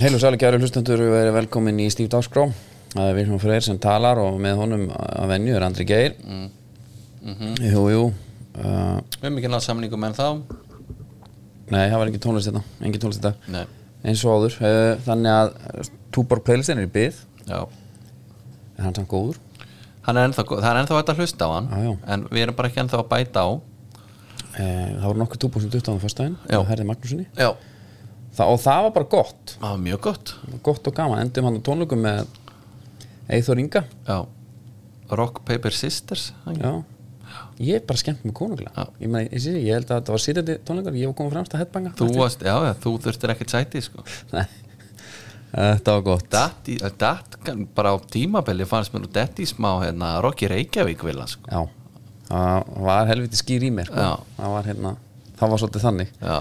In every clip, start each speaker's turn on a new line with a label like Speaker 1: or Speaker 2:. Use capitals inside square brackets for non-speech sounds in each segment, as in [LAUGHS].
Speaker 1: Heil og sæli kæru hlustendur og verið velkomin í Stíf Dagskrá Það er Vilhelm Freyr sem talar og með honum að venju er Andri Geir
Speaker 2: Mm.
Speaker 1: Jú, jú uh,
Speaker 2: Við höfum ekki nátt samningum en þá
Speaker 1: Nei, það var engin tónlist þetta, engin tónlist þetta
Speaker 2: Nei,
Speaker 1: eins og áður uh, Þannig að uh, Túborg playlistin er í byð
Speaker 2: já
Speaker 1: er hann samt góður
Speaker 2: Hann er ennþá, Það er ennþá hægt að hlusta á hann
Speaker 1: Já, já.
Speaker 2: En við erum bara ekki ennþá að bæta á
Speaker 1: uh, Það voru nokkuð Túborg sem dutt á það fyrstæðin
Speaker 2: Já.
Speaker 1: og herði Magnúsinni
Speaker 2: Já,
Speaker 1: Þa, og það var bara gott,
Speaker 2: það var mjög gott
Speaker 1: gott og gaman endum hann á tónleikum með Eithor Inga
Speaker 2: Já Rock Paper Sisters hann-
Speaker 1: Já Ég er bara skemmt með konunglega
Speaker 2: Já.
Speaker 1: ég, meina, ég, ég, ég held að þetta var sýrjandi tónleikar Ég var komið fremst að headbanga
Speaker 2: Þú varst, já, já, þú þurftir ekkert sæti sko.
Speaker 1: Nei, þetta var gott
Speaker 2: Datt, í, eh, datt kann- bara á tímabili fannst mér nú dett í smá hérna, Rocky Reykjavík vilja sko.
Speaker 1: Já, það var helviti skýr í mér sko.
Speaker 2: Já.
Speaker 1: Það var hérna, það var svolítið þannig
Speaker 2: Já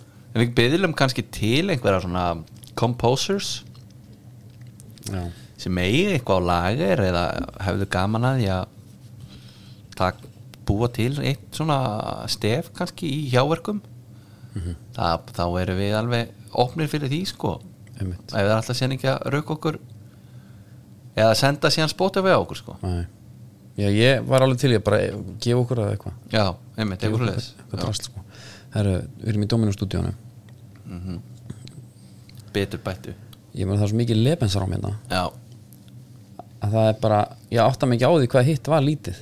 Speaker 2: En við byrðum kannski til einhverja svona composers
Speaker 1: Já,
Speaker 2: sem eigi eitthvað á lager eða hefðu gaman að því að tak, búa til eitt svona stef kannski í hjáverkum Þa, þá erum við alveg opnir fyrir því sko
Speaker 1: einmitt
Speaker 2: ef það er alltaf sérning að rauk okkur eða senda síðan spóta við okkur sko
Speaker 1: Nei. Já, ég var alveg til ég bara eh, gefa okkur að eitthvað
Speaker 2: já, einmitt,
Speaker 1: Gefa
Speaker 2: eitthvað
Speaker 1: okkur
Speaker 2: leðis
Speaker 1: eitthvað drast sko Herru, við erum í Dominó stúdíónu
Speaker 2: betur bættu
Speaker 1: Ég meina það er svo mikið lefensar á minna
Speaker 2: já,
Speaker 1: að það er bara, ég átta mig ekki á því hvað hitt var lítið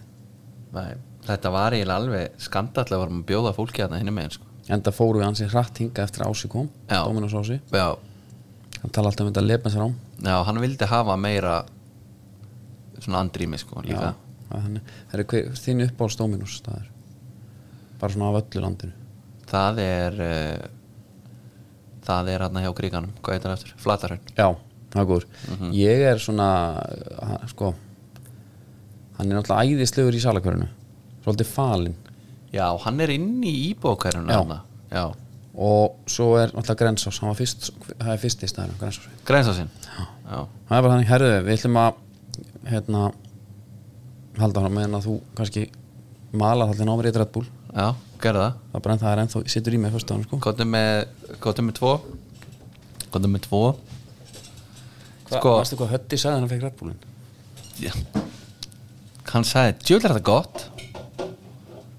Speaker 2: nei, þetta var eiginlega alveg skandallega varum að bjóða fólki að það hinni megin sko
Speaker 1: Enda fóru við hansi hratt hinga eftir að Ási kom
Speaker 2: Já.
Speaker 1: Dominós Ási
Speaker 2: já,
Speaker 1: Hann tala alltaf um þetta lefensar
Speaker 2: já, hann vildi hafa meira svona andrými sko líka
Speaker 1: Það er hver, þín uppáhalds Dominós staður Bara svona af öllu landinu
Speaker 2: Það er uh, Það er hann hjá gríkanum Hvað heitir hann eftir? Flatarhörn
Speaker 1: Já, það er góður
Speaker 2: Mhm.
Speaker 1: Ég er svona uh, sko, hann er náttúrulega æðislegur í salakverðinu svolítið falinn
Speaker 2: Já, hann er inn í íbókærun
Speaker 1: Já.
Speaker 2: Já.
Speaker 1: og svo er náttúrulega Grensás hann var fyrst, það er fyrst í staðinu Grensás
Speaker 2: Grænsásinn Já.
Speaker 1: það er bara þannig, herðu, við ætlum að hérna halda hann meðan að þú kannski mala það til námið í Red Bull
Speaker 2: Já, gerðu það
Speaker 1: það er bara ennþá, það er ennþá, situr í mig fyrst sko.
Speaker 2: Kottum með, kottum með tvo Kottum með tvo
Speaker 1: sko,
Speaker 2: Sko-
Speaker 1: varstu hvað Hötti sagði hann fekk Red Bullin
Speaker 2: Já. Hann sagði, djöðlega er þetta gott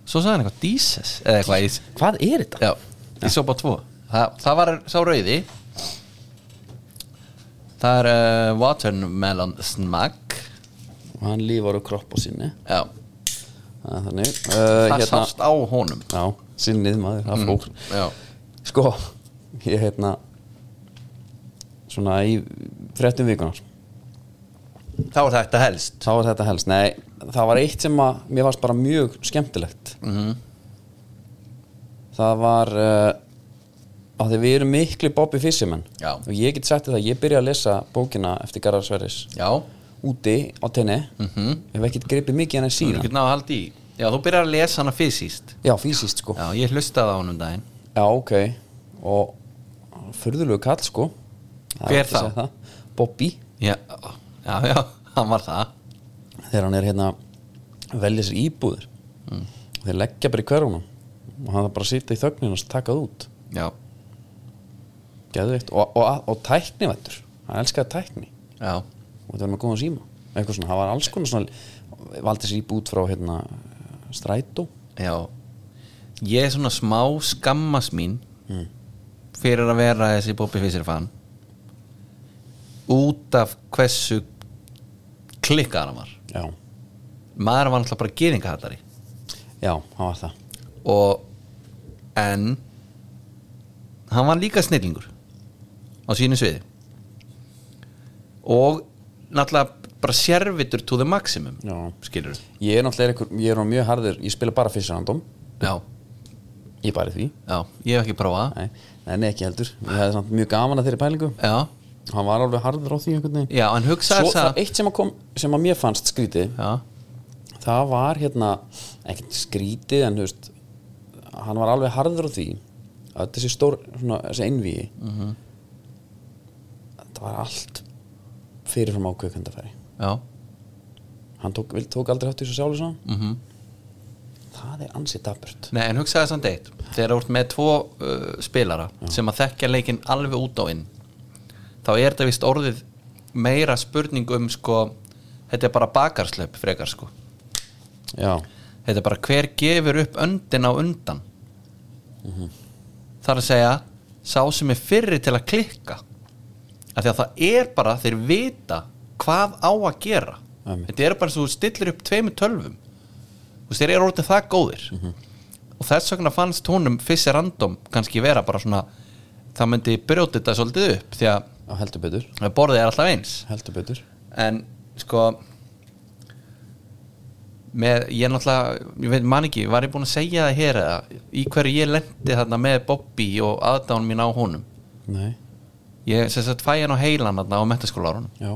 Speaker 2: Svo sagði hann eitthvað Díses Eða eitthvað í
Speaker 1: hvað er þetta?
Speaker 2: Já, í sopa 2 Þa, Það var sá rauði Það er uh, Watermelon Snack
Speaker 1: og hann lífar á kropp á sinni
Speaker 2: Já,
Speaker 1: það er þannig uh,
Speaker 2: það hérna- sást Mm. á honum
Speaker 1: já, sinnið maður, það fór
Speaker 2: Já,
Speaker 1: Sko, ég hérna svona í frettum vikunar
Speaker 2: þá er þetta helst
Speaker 1: þá var þetta helst, nei, það var eitt sem að mér varst bara mjög skemmtilegt
Speaker 2: Mhm.
Speaker 1: það var uh, að því við erum miklu Bobby Fissimenn
Speaker 2: Já.
Speaker 1: og ég get sagt þetta, ég byrja að lesa bókina eftir Garðar Sverris
Speaker 2: Já, þú
Speaker 1: úti á tenni mm
Speaker 2: Mhm.
Speaker 1: -hmm. ef ekki gripið mikið hennar síðan
Speaker 2: getur náðu að haldi í Já, þú byrjar að lesa hana fysiskt
Speaker 1: já, fysiskt sko, já,
Speaker 2: Já, ég hlustaði á honum daginn
Speaker 1: ok og furðulegu kall sko Það er
Speaker 2: Hver
Speaker 1: hægt að
Speaker 2: þá?
Speaker 1: segja það. Bobby
Speaker 2: Já, já, já hann var það
Speaker 1: þegar hann er hérna að velja sér íbúður þeir leggja bara í hverfunum og hann þarf bara að sitja í þögninu og taka það út
Speaker 2: Já,
Speaker 1: Geðveikt. og, og, og tæknivættur hann elskaði tækni
Speaker 2: já,
Speaker 1: og þetta var með góðan síma eitthvað svona, hann var alls konar svona valdi sér íbúð frá hérna strætó
Speaker 2: já Ég er svona smá skammas mín Fyrir að vera þessi Bobby Fischer fan Út af hversu klikkar hann var
Speaker 1: já,
Speaker 2: Maður var náttúrulega bara gýðingahattari
Speaker 1: já, hann var það
Speaker 2: og en hann var líka snillingur á sínu sviði og náttúrulega bara sérvitur to the maximum
Speaker 1: Já.
Speaker 2: skilur
Speaker 1: ég er náttúrulega ykkur, ég er orðinn mjög harður ég spila bara fyrst random,
Speaker 2: já,
Speaker 1: ég er bara í því
Speaker 2: já, ég hef ekki prófað það.
Speaker 1: nei, nei, nei, ekki heldur, ég hefði samt mjög gaman að þeirri pælingu
Speaker 2: já,
Speaker 1: hann var alveg harður á því einhvern veginn
Speaker 2: já, en hugsaði
Speaker 1: Svo
Speaker 2: þess
Speaker 1: það
Speaker 2: að
Speaker 1: eitt sem að kom, sem að mér fannst skrítið
Speaker 2: já,
Speaker 1: það var hérna ekkert skrítið en þú veist hann var alveg harður á því að þessi stór, svona, þessi einvíi þetta var allt fyrirfram ákveðkendafæri
Speaker 2: já,
Speaker 1: hann tók, vill, tók aldrei hátt í þessu sjálf svona.
Speaker 2: mhm
Speaker 1: það er ansið daburt
Speaker 2: Nei, en hugsaði samt eitt þegar þú ert með tvo uh, spilara sem að þekkja leikinn alveg út á inn þá er þetta vist orðið meira spurning um sko, þetta er bara bakarslöp frekar sko
Speaker 1: já,
Speaker 2: þetta er bara hver gefur upp öndin á undan þar að segja sá sem er fyrri til að klikka af því að það er bara þeir vita hvað á að gera
Speaker 1: Einmitt.
Speaker 2: þetta er bara eins og þú stillir upp tveimur tölvum Þú veist, þeir eru orðið það góðir og þess vegna fannst honum fyrst random kannski vera bara svona það myndi brjóti þetta svolítið upp því að
Speaker 1: já, heldur betur
Speaker 2: borðið er alltaf eins
Speaker 1: heldur betur
Speaker 2: en sko með, ég náttúrulega, ég veit man ekki var ég búin að segja það hér eða í hverju ég lendi þarna með Bobby og aðdán mín á honum
Speaker 1: nei,
Speaker 2: ég sem sagt fæ hann á heilan þarna á mentaskólarunum
Speaker 1: já,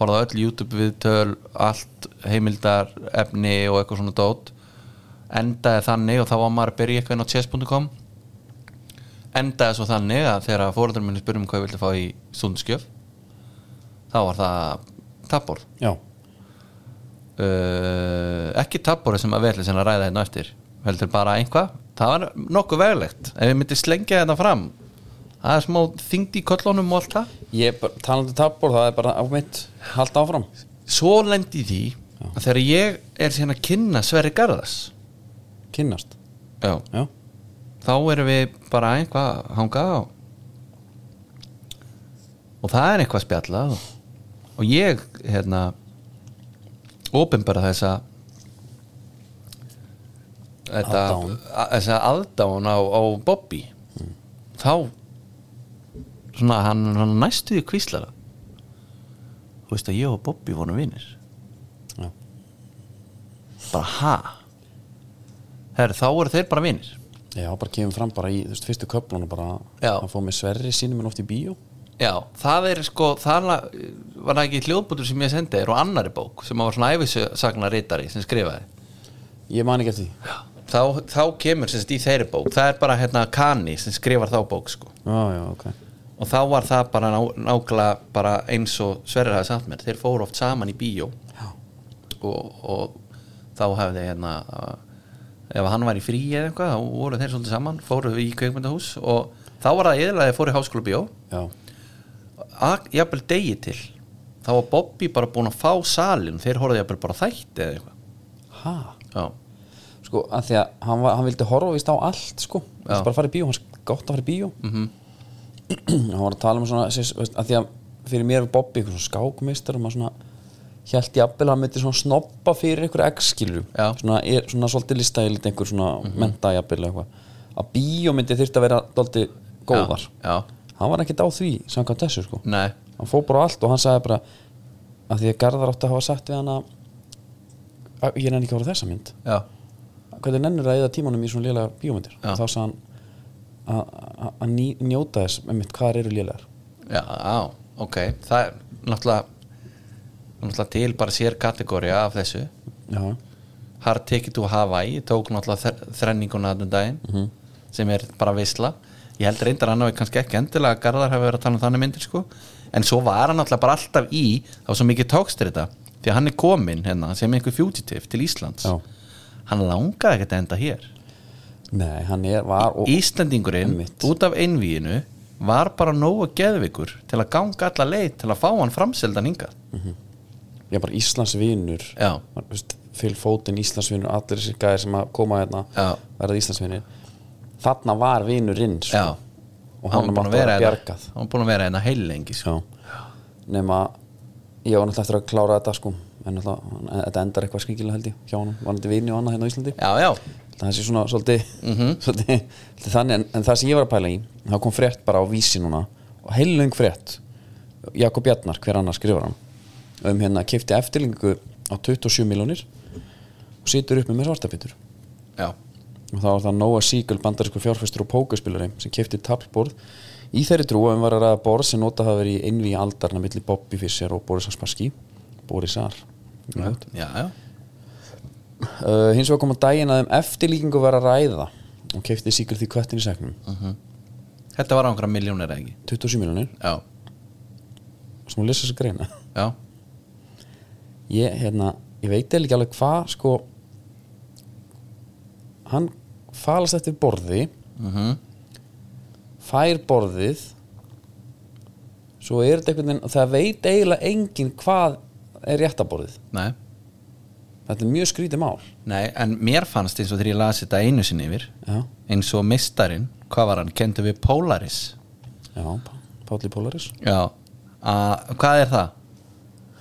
Speaker 2: horfði á öll YouTube viðtöl allt heimildar efni og eitthvað svona dót endaði þannig og þá var maður að byrja eitthvað inn á chess.com endaði svo þannig að þegar fóreldur minni spurðum um hvað ég vildi fá í sundskjöf þá var það tapborð
Speaker 1: já,
Speaker 2: uh, ekki tappbóri sem að verðli sem að ræða hérna á eftir heldur bara einhvað það var nokkuð veglegt ef ég myndi slengja þetta fram það er smá þyngd í köllunum og allt það
Speaker 1: ég bara- talandi tappor það er bara á mitt, halda áfram
Speaker 2: svo lendi því að þegar ég er síðan að kynna Sverri Garðas
Speaker 1: kynnast,
Speaker 2: já.
Speaker 1: já,
Speaker 2: þá erum við bara einhvað að hanga á og það er eitthvað spjallað og, og ég hérna opinbara þessa þetta,
Speaker 1: Aðdáun. Mm.
Speaker 2: a, þessa aðdáun á, á Bobby þá svona hann, hann næstu því kvíslara þú veist að ég og Bobby vorum vinnir
Speaker 1: já,
Speaker 2: bara ha Her, þá eru þeir bara vinnir
Speaker 1: já bara kemur fram bara í þú veist, fyrstu köflunum bara
Speaker 2: Já.
Speaker 1: að fá með sverri sínum en oft í bíó
Speaker 2: Já, það er sko það var það ekki hljóðbútur sem ég sendi þér og annari bók sem var svona æfisagnaritari sem skrifaði
Speaker 1: ég man ekki eftir því
Speaker 2: þá, þá kemur sem sagt í þeirri bók það er bara hérna Kani sem skrifar þá bók sko.
Speaker 1: já, já, ok,
Speaker 2: og þá var það bara ná, nákvæmlega bara eins og Sverrir hafði sagt mér þeir fóru oft saman í bíó
Speaker 1: já,
Speaker 2: og, og þá hefði hérna eh, ef hann var í fríi eða eitthvað þá voru þeir svolítið saman, fóru í kveikmyndahús og þá var það yfirlega að þeir fóru í háskóla bíó
Speaker 1: já,
Speaker 2: að- jafnvel degi til þá var Bobby bara búin að fá salin þeir horfði jafnvel bara á þætti eða eitthvað
Speaker 1: ha
Speaker 2: já,
Speaker 1: sko, að því að hann, var, hann vildi horfa vist á allt sko, hann
Speaker 2: Já. Mhm.
Speaker 1: vildi bara fara í bíó, hann er gott að fara í bíó [CLEARS THROAT] hann var að tala um svona sérst, veist, að því að fyrir mér var Bobby eitthvað svona skákmeistar og maður svona hjælt jafnvel að hann myndi svona snoppa fyrir einhverju x-skilu,
Speaker 2: Já. Mhm.
Speaker 1: svona, er, svona svolítið listælit einhver svona menta jafnvel eitthvað, að bíó myndi þyrfti að vera svolítið góðar,
Speaker 2: já,
Speaker 1: hann var ekkert á því samkvæmt þessu sko,
Speaker 2: nei,
Speaker 1: hann fór bara á allt og hann sagði bara að því að Garðar átti að hafa sagt við hann að "Æ, ég er enn ekki að horfa á þessa mynd
Speaker 2: já,
Speaker 1: hvernig nennir að eða tímanum í svona lélega bíómyndir
Speaker 2: Já.
Speaker 1: og þá sagði hann að- að- að ný- njóta þess einmitt hvað þær eru lélegar
Speaker 2: já, á, ok það er náttúrulega náttúrulega til bara sér kategóri af þessu
Speaker 1: já,
Speaker 2: Hard Ticket to Hawaii tók náttúrulega þre- þrenninguna þarna um daginn
Speaker 1: Mhm.
Speaker 2: sem er bara visla ég held reyndar að hann hafi kannski ekki endilega að Garðar hafi verið að tala um þannig myndir sko en svo var hann náttúrulega bara alltaf í það var svo mikið tókstir þetta því að hann er komin hérna sem einhver fugitive til Íslands
Speaker 1: Já.
Speaker 2: hann langaði ekkert að enda hér
Speaker 1: nei, hann er, var og,
Speaker 2: Íslandingurinn
Speaker 1: Einmitt.
Speaker 2: út af einvíinu var bara nógu geðvikur til að ganga alla leið til að fá hann framseldan hingað sko.
Speaker 1: já, bara Íslands vinur
Speaker 2: Já.
Speaker 1: fylg fótinn Íslands vinur allir þessir gæðir sem að koma hérna
Speaker 2: Já.
Speaker 1: verða Íslands vinir þarna var vinurinn sko.
Speaker 2: Já.
Speaker 1: og hann
Speaker 2: var búinn
Speaker 1: mátti vera
Speaker 2: hérna-
Speaker 1: bjargað
Speaker 2: hann var búin að vera hérna heilengi sko.
Speaker 1: já. nema ég var náttúrulega eftir að klára þetta sko en náttúrulega, hann- þetta endar eitthvað skringilega held ég hjá hann, var hann til vini og annað hérna á Íslandi
Speaker 2: já, já,
Speaker 1: það sé svona svolítið, [LAUGHS] svolítið, svolítið þannig, en, en það sem ég var að pæla í þá kom frétt bara á vísi núna og heilung frétt Jakob Jarnar, hver annar skrifar hann um hérna, kefti eftirlingu á 27 miljónir og situr upp með mér svartafittur
Speaker 2: já,
Speaker 1: og þá var það Noah Siegel, bandarískur fjárfæstur og pókerspilari sem kefti tablborð í þeirri trú að um var að ræða borð sem nota hafa verið í innví aldarna milli Bobby Fischer og Borisar Sparski Borisar ja
Speaker 2: já, já.
Speaker 1: uh, hins vegar kom að daginn að um eftirlíkingu var að ræða og kefti síkur því kvettin í segnum
Speaker 2: Þetta var á einhverja miljónir eða ekki
Speaker 1: 27 miljonir,
Speaker 2: Já,
Speaker 1: sem hún lesa þess að greina
Speaker 2: já,
Speaker 1: [LAUGHS] ég, hérna, ég veit eða ekki alveg hvað sko hann falast eftir borði
Speaker 2: mhm,
Speaker 1: fær borðið svo er þetta einhvern veginn það veit eiginlega enginn hvað er réttaborðið
Speaker 2: Nei.
Speaker 1: þetta er mjög skrítið mál
Speaker 2: Nei, en mér fannst eins og þegar ég las þetta einu sinni yfir
Speaker 1: Já.
Speaker 2: eins og mistarinn, hvað var hann, kendi við Polaris
Speaker 1: já, Pá- Pálli Polaris
Speaker 2: Já, að, hvað er það?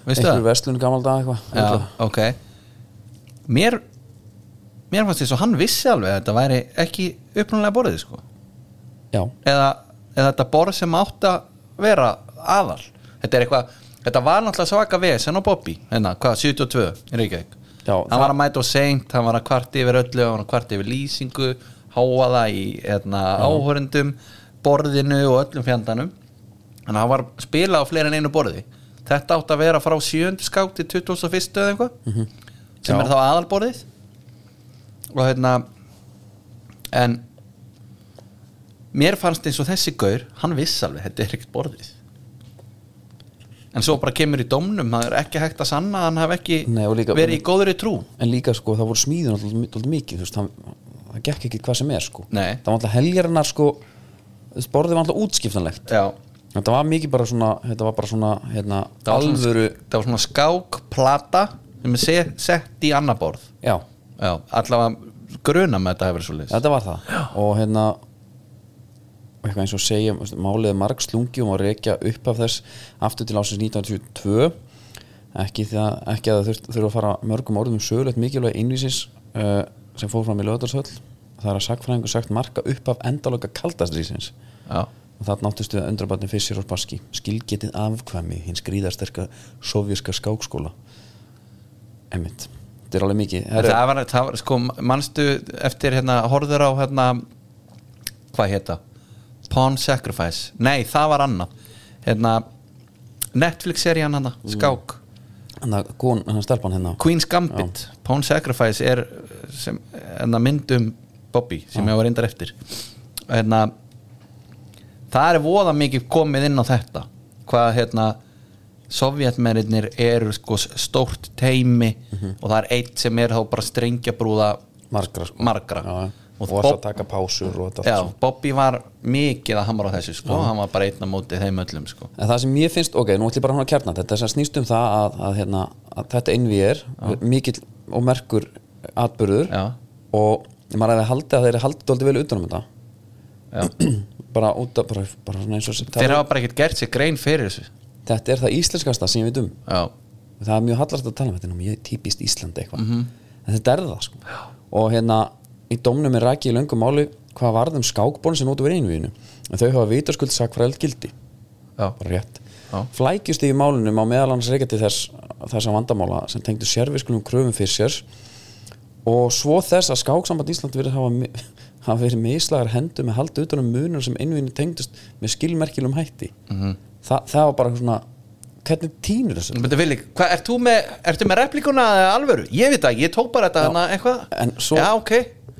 Speaker 2: Veistu
Speaker 1: einhver
Speaker 2: það?
Speaker 1: verslun gammal dag eitthvað
Speaker 2: Já,
Speaker 1: örugglega.
Speaker 2: ok Mér mér fannst eins og hann vissi alveg að þetta væri ekki upprunalega borðið sko
Speaker 1: já,
Speaker 2: eða, eða þetta borð sem átt að vera aðal þetta er eitthvað, þetta var náttúrulega svaka vesen á Bobby, hérna, hvað, 72 í Reykjavík,
Speaker 1: Já,
Speaker 2: hann
Speaker 1: það-
Speaker 2: var að mæta og seint hann var að kvarti yfir öllu, hann var að kvarti yfir lýsingu háa það í hérna, áhörundum, borðinu og öllum fjandanum þannig að hann var að spila á fleiri en einu borði þetta átt að vera frá 7. skátt til 21. eða eitthvað sem
Speaker 1: Mhm. Já.
Speaker 2: er þá aðalborðið og hérna en mér fannst eins og þessi gaur hann viss alveg, þetta er ekkert borðið en svo bara kemur í dómnum það er ekki hægt að sanna að hann haf ekki
Speaker 1: Nei, og líka-
Speaker 2: verið í góðri trú
Speaker 1: en líka sko það voru smíðun alltaf mikið þú veist, hann, það gekk ekki hvað sem er sko
Speaker 2: Nei.
Speaker 1: það var alltaf heljarinnar sko þú veist, borðið var alltaf útskiptanlegt
Speaker 2: já,
Speaker 1: þetta var mikið bara svona þetta var bara svona hérna,
Speaker 2: það var,
Speaker 1: alvöru
Speaker 2: svona, það var svona skákplata sem er se- sett í annað borð
Speaker 1: já,
Speaker 2: já, allavega gruna með þetta hefur svo leys
Speaker 1: þetta var það já. og hérna og eitthvað eins og segja þú veist, málið er marg slungi og má rekja upp af þess aftur til ásins 1922 ekki, það, ekki að það þurft- þurfa að fara mörgum orðum um sögulegt mikilvæg innvísis uh, sem fór fram í löðarshöll það er að sakfræðingu sagt marka upp af endalöka kaldastrýsins
Speaker 2: já,
Speaker 1: og það náttustu að undrabarni Fissir og Baski skilgetið afkvæmi hins gríðarsterka sovjerska skákskóla emmitt þetta er alveg mikið Herru,
Speaker 2: það var, það var sko, manstu eftir hérna, horður á hérna hvað heita Pawn Sacrifice, nei það var annað hérna Netflix-serían hana, skák
Speaker 1: hann að kon, hann að stelpan hérna
Speaker 2: Queen's Gambit, Pawn Sacrifice er uh, sem, hérna, mynd um Bobby sem ég var reyndar eftir hérna það er voða mikið komið inn á þetta hvað hérna sovjetmennir eru sko stórt teimi
Speaker 1: Mhm.
Speaker 2: og það er eitt sem er þá bara strengjabrúða
Speaker 1: margra sko.
Speaker 2: margra
Speaker 1: já, já.
Speaker 2: og,
Speaker 1: og það
Speaker 2: Bob,
Speaker 1: að taka pásur og þetta allt sko.
Speaker 2: já,
Speaker 1: svona.
Speaker 2: Bobby var mikið að hamra á þessu sko, hann var bara einn á móti þeim öllum sko
Speaker 1: en það sem mér finnst, ok, nú ætlum ég bara hann að kjarna þetta þess að snýst um það að, að, hérna, að þetta innví er mikill og merkur atbyrður
Speaker 2: Já.
Speaker 1: og maður hefði haldið að þeir eru haldið dálítið vel utan um þetta
Speaker 2: Já.
Speaker 1: [CLEARS THROAT] bara út af, bara, bara svona eins og sem
Speaker 2: þeir
Speaker 1: tala-
Speaker 2: hafa bara ekkert gert sér grein fyrir þessu
Speaker 1: þetta er það íslenskasta sem ég veit um
Speaker 2: já,
Speaker 1: það er mjög hallast að tala um þetta er nú mjög típist Íslandi eitthvað
Speaker 2: Mhm.
Speaker 1: en þetta er það sko og hérna í dómnum er rækið í löngu máli hvað varðum skákbón sem notu verið einvíðinu en þau hafa vitaskuld sakfræðilt gildi
Speaker 2: já,
Speaker 1: bara rétt
Speaker 2: Já.
Speaker 1: flækjust í málunum á meðal hans reykja til þess þessa vandamála sem tengdu sérviskulum kröfum fyrir sér og svo þess að skáksamband Ísland verið hafa, mi- [LAUGHS] hafa verið með íslagar hendur með haldi utan um munur sem einvíðinu tengdust með skilmerkilum hætti
Speaker 2: Mhm.
Speaker 1: -hmm. Þa, það var bara svona hvernig tínur þessu
Speaker 2: Bæti, Vili, hva, ert þú með, ertu með replikuna eða alvöru? Ég veit það, ég tók bara þetta hana eitthvað
Speaker 1: en svo-
Speaker 2: Já, ok,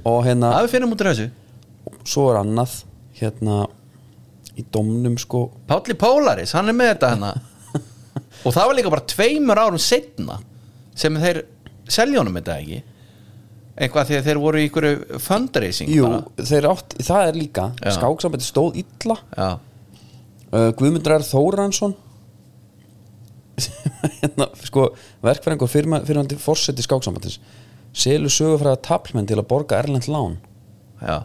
Speaker 1: og hérna
Speaker 2: að við finnum út úr þessu
Speaker 1: svo er annað hérna í domnum sko
Speaker 2: Pálli Polaris, hann er með þetta
Speaker 1: [LAUGHS]
Speaker 2: hana Og það var líka bara tveimur árum setna sem þeir selja honum þetta ekki Eitthvað þegar þeir voru í ykkur fundraising
Speaker 1: Jú,
Speaker 2: bara.
Speaker 1: þeir átt, það er líka
Speaker 2: Já.
Speaker 1: skáksambæti stóð illa
Speaker 2: Já,
Speaker 1: uh, Guðmundrar Þóransson [LAUGHS] hérna, sko verkfæringur fyrirandi fórseti skáksambætis selu sögufræða taplmenn til að borga erlend lán
Speaker 2: já,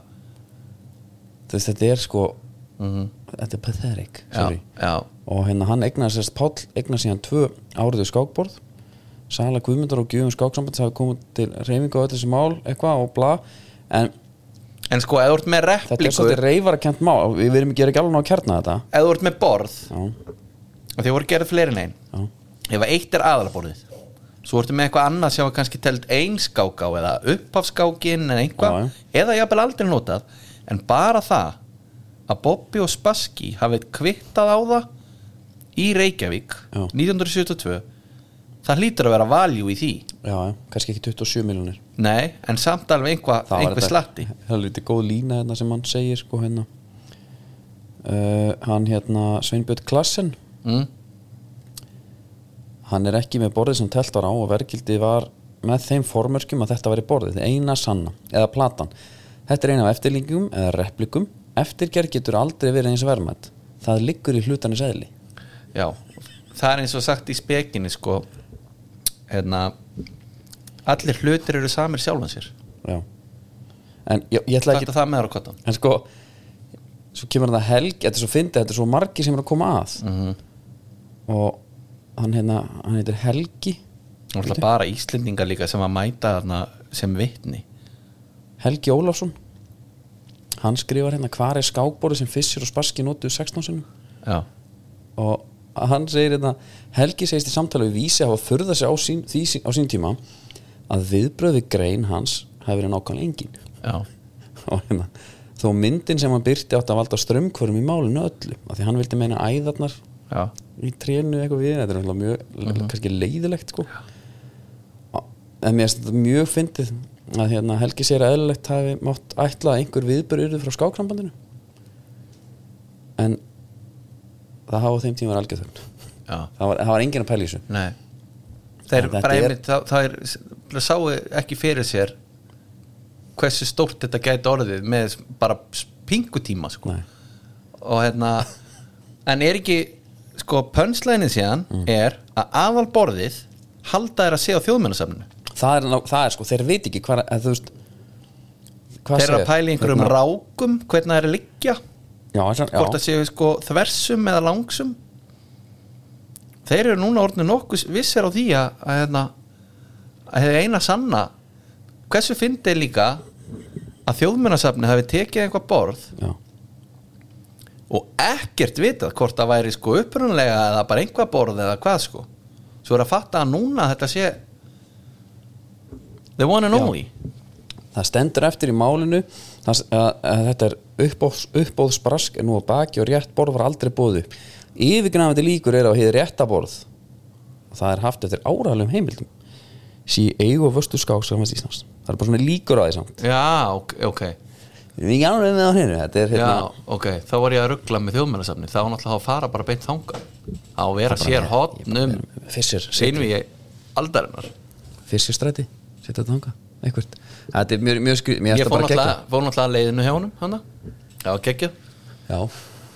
Speaker 1: Þú veist, þetta er sko þetta er pathetic
Speaker 2: Mhm, já,
Speaker 1: sorry.
Speaker 2: já
Speaker 1: og hérna hann eignaði sérst Páll eignaði síðan tvö áriðu skákborð Sala Guðmundar og Guðum skáksambætis hafi komið til reyfingu á öll þessi mál eitthvað og bla en
Speaker 2: En sko, eða þú ert með
Speaker 1: Þetta er
Speaker 2: repliku
Speaker 1: svolítið reyfarakent mál Við við erum ekki að gera ekki alveg ná að kjarna þetta
Speaker 2: Eða þú ert með borð
Speaker 1: Já,
Speaker 2: og þeir voru gerð fleiri en ein
Speaker 1: Já.
Speaker 2: ef að eitt er aðalborðið svo ertu með eitthvað annað sem var kannski telt einskák á eða uppafskákin en
Speaker 1: Já,
Speaker 2: eitthvað, eða jafnvel aldrei notað en bara það að Bobby og Spassky hafið kvittað á það í Reykjavík
Speaker 1: Já.
Speaker 2: 1972 það hlýtur að vera valjú í því
Speaker 1: já, já, kannski ekki 27 miljonir
Speaker 2: nei, en samt alveg einhvað einhver slatti
Speaker 1: Það er lítið góð lína hérna sem hann segir sko hérna uh, Hann hérna Sveinbjörn Klassen
Speaker 2: mm.
Speaker 1: Hann er ekki með borðið sem telt var á og verkildi var með þeim formörkjum að þetta væri borðið eina sanna, eða platan Þetta er eina af eftirlíkjum eða replikum Eftirgerð getur aldrei verið eins verðmætt Það liggur í hlutanis eðli
Speaker 2: já, það er eins og sagt í spekinni sko hérna allir hlutir eru samir sjálfan sér
Speaker 1: já en ég, ég ætla
Speaker 2: þetta
Speaker 1: ekki
Speaker 2: það með rákottan
Speaker 1: en sko svo kemur það helg, þetta er svo fyndið þetta er svo margi sem er að koma að
Speaker 2: Mhm.
Speaker 1: og hann hérna, hann heitir Helgi
Speaker 2: og alltaf bara Íslendingar líka sem að mæta þarna sem vitni
Speaker 1: Helgi Ólafsson hann skrifar hérna hvar er skákbóri sem Fissur og Sparski notuðu 16 sinum
Speaker 2: já,
Speaker 1: og hann segir hérna Helgi segist í samtali við vísi að hafa furða sig á sín, því, sín- á sín tíma að viðbröði grein hans hafi verið nákvæmlega engin [LAUGHS]
Speaker 2: já,
Speaker 1: og hérna þó myndin sem hann byrti átt að valda strömmkvörum í málinu öllu af því hann vildi meina æðarnar
Speaker 2: já
Speaker 1: í trénu eitthvað við þetta er náttúrulega mjög,
Speaker 2: Mhm.
Speaker 1: kannski leiðilegt sko. en mér finnst þetta mjög fyndið að hérna, Helgi sér að eðlilegt hafi mátt ætla að einhver viðbörur frá skáksambandinu en það hafa á þeim tíma algjör þörn
Speaker 2: já,
Speaker 1: það var, það var enginn að pæla í þessu
Speaker 2: nei það er
Speaker 1: Þetta
Speaker 2: bara
Speaker 1: er-
Speaker 2: einmitt það, það er, það sáu ekki fyrir sér hversu stórt þetta gæti orðið með bara pingutíma sko
Speaker 1: Nei.
Speaker 2: og hérna en er ekki, sko pönslænin síðan
Speaker 1: Mm.
Speaker 2: er að aðal borðið halda er að sé á þjóðmennasafninu
Speaker 1: það, er, ná- það er sko, þeir veit ekki hvað, að, þú veist, hvað
Speaker 2: þeir eru að
Speaker 1: segir-
Speaker 2: pæla í einhverjum
Speaker 1: hérna-
Speaker 2: rákum hvernig það er að liggja
Speaker 1: já, ætla, já,
Speaker 2: hvort það séu sko þversum eða langsum þeir eru núna orðinu nokkuð vissir á því að að hérna að hefur eina sanna hversu fyndið er líka að þjóðmennasafni hafi tekið eitthvað borð
Speaker 1: já,
Speaker 2: og ekkert vitað hvort það væri sko upprunlega eða bara einhvað borð eða hvað sko svo er að fatta að núna þetta sé the one and
Speaker 1: Já.
Speaker 2: only
Speaker 1: það stendur eftir í málinu það, að, að þetta er uppbóðs, uppbóðsbrask en nú að baki og rétt borð var aldrei bóðu yfirgnafandi líkur er á hér rétta borð og það er haft eftir áralum heimildum sí eigu og vöstu skák sem fannst Íslands það er bara svona líkur á því samt
Speaker 2: já, ok, ok,
Speaker 1: við erum ekki ánum með á hennu þetta er
Speaker 2: já,
Speaker 1: hérna
Speaker 2: ok þá var ég að ruggla með þjóðmennasafni þá var náttúrulega að fara bara beint þanga á að vera sér hotnum
Speaker 1: fissir,
Speaker 2: seinum ég aldarinnar
Speaker 1: fissir stræti setja þetta þanga, einhvert þetta er mjög, mjög skrið, mér
Speaker 2: ég
Speaker 1: erst það
Speaker 2: fór
Speaker 1: bara
Speaker 2: náttúrulega,
Speaker 1: gegja
Speaker 2: fór náttúrulega að leiðinu hjá honum hana. já, geggjað
Speaker 1: já,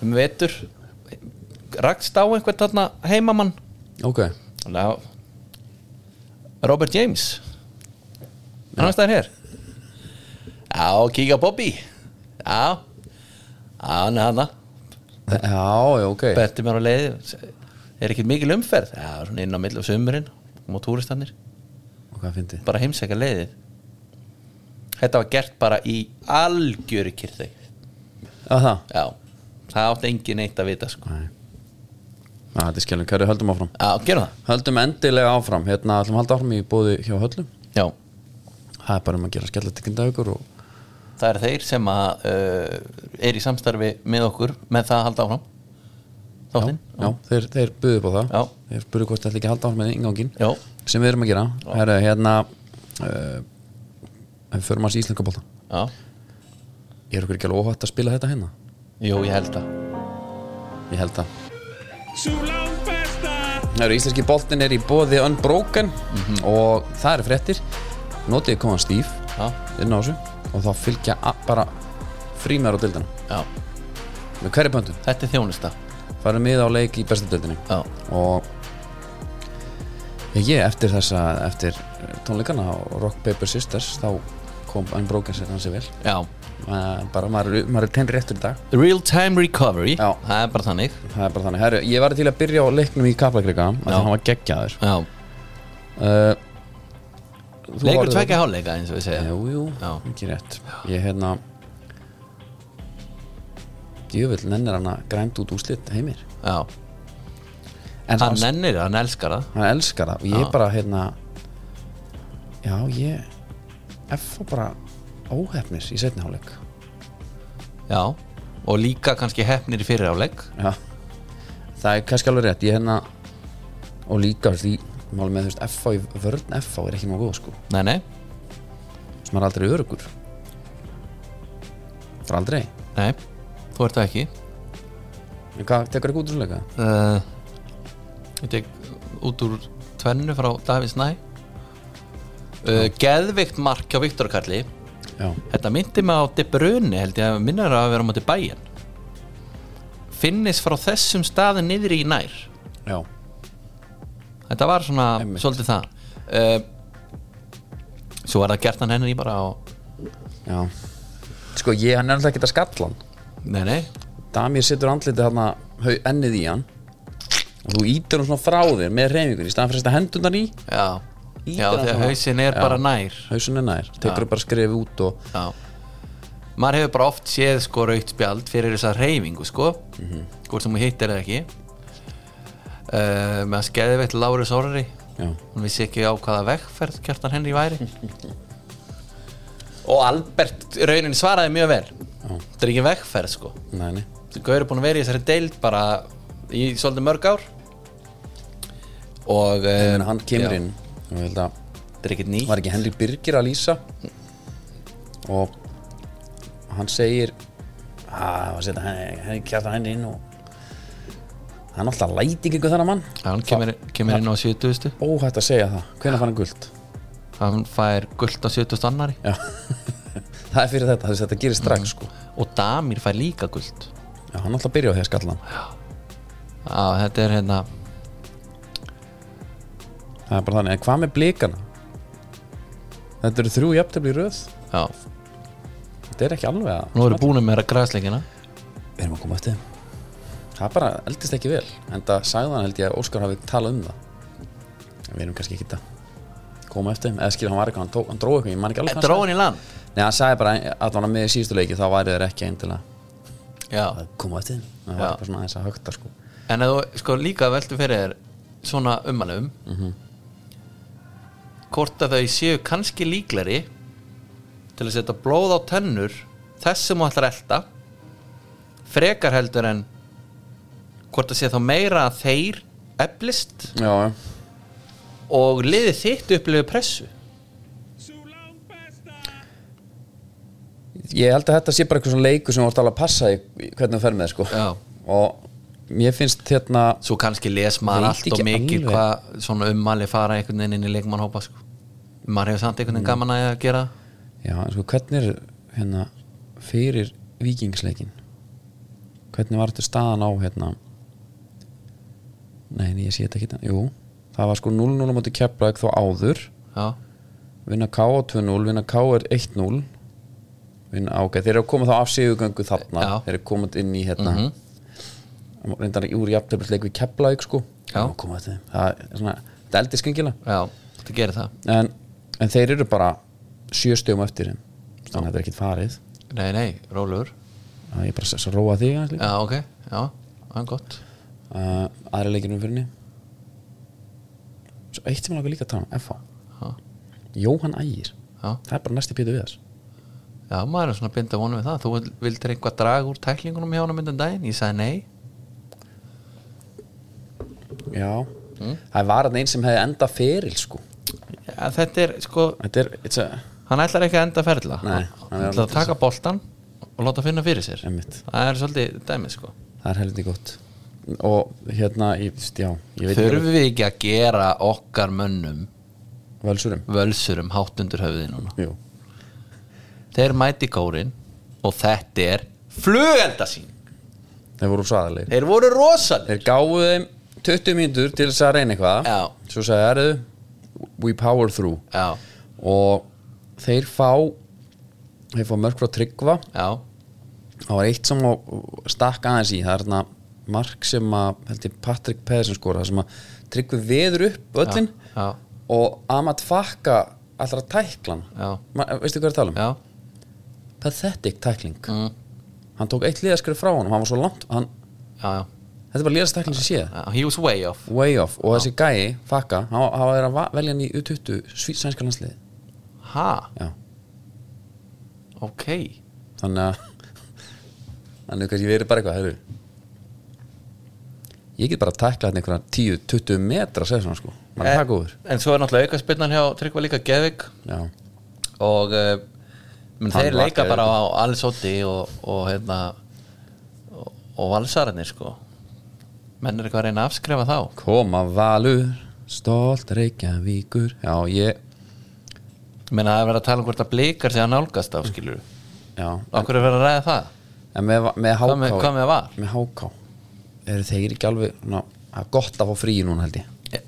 Speaker 2: um vetur rakst á einhvern þarna heimamann
Speaker 1: ok,
Speaker 2: Ná, Robert James Hann er stæðan hér Já, kíka á Bobby Já Já, hann er hana
Speaker 1: já, já, ok
Speaker 2: Betti mér á leiði Er ekkert mikil umferð Já, svona inn á milli á sömurinn Má túristannir
Speaker 1: og hvað fyndi,
Speaker 2: Bara heimsækja leiðið Þetta var gert bara í algjöri kyrþeg
Speaker 1: að það
Speaker 2: Já Það átti engin eitt að vita sko
Speaker 1: Nei Að þetta er skellum, hverju höldum áfram?
Speaker 2: Já, gerum það
Speaker 1: Höldum endilega áfram, hérna ætlum að halda áfram í bóði hjá höllum
Speaker 2: Já
Speaker 1: Það er bara um að gera skellatykkindagur og
Speaker 2: Það eru þeir sem að uh, er í samstarfi með okkur með það að halda áfram
Speaker 1: já,
Speaker 2: Þáttinn
Speaker 1: já, þeir, þeir buðu upp á það
Speaker 2: Já.
Speaker 1: Þeir buðu hvort þetta ekki að halda áfram með ingangin
Speaker 2: Já,
Speaker 1: sem við erum að gera, herru, hérna uh, við förum að íslenska bóta
Speaker 2: já,
Speaker 1: Ég er okkur ekki alveg óhætt að spila þetta hérna
Speaker 2: jú, ég held það
Speaker 1: Ég held að
Speaker 3: Sú langbesta
Speaker 1: Herru, íslenski boltin er í bóði Unbroken og það eru fréttir Notið komast stíf
Speaker 2: Já,
Speaker 1: inn á þessu og þá fylgja a- bara frímar á dildina
Speaker 2: já,
Speaker 1: með hverju pöntum
Speaker 2: þetta er þjónusta
Speaker 1: farum við á leik í bestu dildinni
Speaker 2: Já,
Speaker 1: og ég eftir þessa eftir tónleikana á Rock Paper Sisters þá kom Unbroken sér hansi vel
Speaker 2: já
Speaker 1: Eh, bara maður, maður er tenri réttur í dag
Speaker 2: Real time recovery,
Speaker 1: Já.
Speaker 2: það er bara þannig
Speaker 1: það er bara þannig, herru, ég var til að byrja á leiknum í Kaplakrika, þannig
Speaker 2: Já.
Speaker 1: að hann var geggjaður
Speaker 2: Já,
Speaker 1: uh,
Speaker 2: leikur tvekja háleika eins og við segja
Speaker 1: Jú, jú,
Speaker 2: Já.
Speaker 1: ekki rétt Ég hérna Djöfull nennir hann að grænt út úslit heimir
Speaker 2: Já,
Speaker 1: En
Speaker 2: hann nennir, það, hann elskar það
Speaker 1: hann elskar það og ég
Speaker 2: Já.
Speaker 1: bara hérna já ég F var bara óhefnis í setni hálfleik
Speaker 2: Já, og líka kannski hefnir í fyrir háleik
Speaker 1: já það er kannski alveg rétt ég hérna og líka því málum með þú veist F í vörn F er ekki nóg góð sko
Speaker 2: Nei, nei,
Speaker 1: sem er aldrei örugur það er aldrei en
Speaker 2: nei, þú ert það ekki
Speaker 1: hvað tekur ekki út úr svo leika
Speaker 2: uh, Ég tek út úr tvennu frá Davins Næ uh, Geðvikt mark hjá Viktor Karli
Speaker 1: já
Speaker 2: Þetta myndi mig á De Bruyne held ég að minnara að vera á móti bæjan Finnis frá þessum staði niður í nær
Speaker 1: já,
Speaker 2: þetta var svona
Speaker 1: Einmitt.
Speaker 2: svolítið það uh, svo er það gert hann henni bara á
Speaker 1: já sko ég, hann er alltaf ekki að skalla hann
Speaker 2: nei nei
Speaker 1: Damir setur andlitið hann hau ennið í hann og þú ítir hann svona frá þér með reyningun í staðan fyrir að setja hendurnar í
Speaker 2: já,
Speaker 1: Ítir
Speaker 2: já
Speaker 1: hann
Speaker 2: því að
Speaker 1: svona.
Speaker 2: hausin er
Speaker 1: Já.
Speaker 2: bara nær
Speaker 1: hausunni nær, tekur bara skrifi út og
Speaker 2: já maður hefur bara oft séð sko raukt spjald fyrir þessa reyfingu sko hvort sem hún hittir eða ekki uh, með að skeði veitt Lárus Orri
Speaker 1: já,
Speaker 2: hún vissi ekki á hvaða vegferð kjartan henni væri og Albert raunin svaraði mjög vel þetta er ekki vegferð sko
Speaker 1: næni
Speaker 2: Gauður er búin að vera í þessari deild bara í svolítið mörg ár og um,
Speaker 1: en hann kemur inn og ég held að
Speaker 2: þetta er ekkert ný
Speaker 1: var ekki Henry Birgir að lýsa og hann segir að setja henni, henni kjartan henni inn og hann alltaf læti ekki þennan mann
Speaker 2: hann kemur, kemur inn á 70
Speaker 1: óhætt að segja það, hvenær fann hann guld
Speaker 2: hann fær gullt á 70 annari
Speaker 1: já, það er fyrir þetta þess að þetta gerir strax sko
Speaker 2: og Damir fær líka gullt
Speaker 1: já, hann alltaf byrja á því að skalla hann
Speaker 2: á, þetta er hérna
Speaker 1: það er bara þannig, en hvað með blikana þetta eru þrjú jafntöfli röð
Speaker 2: já.
Speaker 1: þetta er ekki alveg að
Speaker 2: nú erum við búin með græsleikina
Speaker 1: við erum að koma eftir þeim það bara eldist ekki vel en það sagðan held ég að Óskar hafi talað um það En við erum kannski ekki að koma eftir þeim eða skilja hann var eitthvað, hann, tók, hann dróð eitthvað ég man ekki alveg hvað hann
Speaker 2: dróin í land
Speaker 1: sagði. nei, hann sagði bara að hann með í síðustu leiki þá væri þeir ekki eindilega
Speaker 2: já.
Speaker 1: að koma eftir þeim það var
Speaker 2: Já.
Speaker 1: bara svona aðeins að högta sko
Speaker 2: en að þú sko líka veltu fyrir þér svona umanum hvort að þau séu kannski líklari til að setja blóð á tennur þess sem þú ætlar að elta frekar heldur en hvort að sé þá meira að þeir eflist
Speaker 1: já, já.
Speaker 2: og liðið þitt upplifu pressu
Speaker 3: Sú langt besta.
Speaker 1: ég held að þetta sé bara eitthvað svona leiku sem þú ert alveg að passa í í hvernig þú fer með þér, sko
Speaker 2: Já.
Speaker 1: og mér finnst hérna
Speaker 2: svo kannski les maður
Speaker 1: Veit
Speaker 2: allt og
Speaker 1: ekki
Speaker 2: mikið
Speaker 1: alveg.
Speaker 2: hvað svona ummali fara einhvern veginn inn í leikmannhópa sko. maður hefur samt einhvern veginn gaman að því að gera
Speaker 1: Já, en sko, hvernig er hérna fyrir vikingsleikin hvernig var þetta staðan á hérna nei, nei, ég sé þetta ekki hérna. jú, það var sko 0-0 á móti keflaðið þó áður
Speaker 2: já,
Speaker 1: vinna K 2-0, vinna K 1-0 vinna ágæð, þeir eru að koma þá af sigugöngu þarna,
Speaker 2: Já. Mhm.
Speaker 1: þeir eru komað inn í hérna mm reyndar í úr jafnleik við keflaðið sko
Speaker 2: Já.
Speaker 1: Og koma þetta, það er svona þetta eldi skringila
Speaker 2: já, þetta gerir það
Speaker 1: en, en þeir eru bara sjö stöðum eftir þeim þannig að þetta er ekkit farið
Speaker 2: Nei, nei, rólur
Speaker 1: að ég bara s- róa þig aðeins líka
Speaker 2: Já, ok, já, það er gott
Speaker 1: uh, aðri leikir um fyrirni svo eitt sem ég langar líka að tala um FH
Speaker 2: Já,
Speaker 1: Jóhann Ægir,
Speaker 2: já,
Speaker 1: það er bara næsti pítu við þess
Speaker 2: já maður er svona að binda vonum við það Þú vil- vildir eitthvað draga úr tæklingunum hjá honum myndan daginn Ég sagði nei
Speaker 1: já, það var hann einn sem hefði enda feril sko,
Speaker 2: já, Þetta er, sko,
Speaker 1: þetta er it's a,
Speaker 2: hann ætlar ekki að enda ferla
Speaker 1: Nei, hann
Speaker 2: Hann
Speaker 1: er
Speaker 2: ætlar
Speaker 1: alveg-
Speaker 2: að taka boltan og láta finna fyrir sér
Speaker 1: Einmitt.
Speaker 2: Það er svolítið dæmið, sko
Speaker 1: það er helviti gott og hérna, ég, veist, já ég veit
Speaker 2: Þurfum við ekki að gera okkar mönnum
Speaker 1: ekki völsurum
Speaker 2: völsurum um hátt undir höfði núna
Speaker 1: jú,
Speaker 2: Þeir mæti kórin og þetta er flugeldasýn
Speaker 1: þeir voru sæðilegir
Speaker 2: Þeir voru rosalir
Speaker 1: þeir gáfu þeim 20 mínútur til þess að reyna eitthvað
Speaker 2: Já.
Speaker 1: svo sagði erðu we power through
Speaker 2: Já,
Speaker 1: og þeir fá þeir fá mörg frá tryggva
Speaker 2: já,
Speaker 1: það var eitt sem að stakka aðeins í það er þarna mark sem að held ég Patrick Pedersen skora sem að tryggvi veður upp öllin
Speaker 2: já,
Speaker 1: og Amat Fakka allra tæklan
Speaker 2: Já.
Speaker 1: Ma, veistu hvað ég er að tala um?
Speaker 2: já
Speaker 1: pathetic tækling
Speaker 2: Mm.
Speaker 1: hann tók eitt liðaskrið frá honum, hann var svo langt hann,
Speaker 2: já, já.
Speaker 1: þetta er bara liðastækling sem séð
Speaker 2: Já, he was way off
Speaker 1: way off og þessi gæi, Fakka hann, hann var að va- velja hann í U20 sví- sænska landslið
Speaker 2: ha,
Speaker 1: já
Speaker 2: ok
Speaker 1: þannig að þannig að kannski verið bara eitthvað heyrðu. ég get bara að tækla hann einhverja 10-20 metra segir svona sko, maður er það góður
Speaker 2: Eh, en svo er náttúrulega aukaspinnan hjá Tryggva líka Geðvik
Speaker 1: já,
Speaker 2: og uh, menn,
Speaker 1: Hann
Speaker 2: þeir
Speaker 1: var
Speaker 2: leika
Speaker 1: Geðvik.
Speaker 2: bara á Alisotti og, og hérna og, og valsararnir sko menn er eitthvað að reyna að afskrifa þá
Speaker 1: koma valur stolt reykjavíkur já, ég
Speaker 2: menn að það er verið að tala um hvort að blikar sig að nálgast á skilur
Speaker 1: já,
Speaker 2: okkur er verið að ræða það
Speaker 1: en með, með háká
Speaker 2: hvað með, hvað með var
Speaker 1: með háká eru þeir ekki alveg ná, það er gott að fá frí núna held ég
Speaker 2: Eh,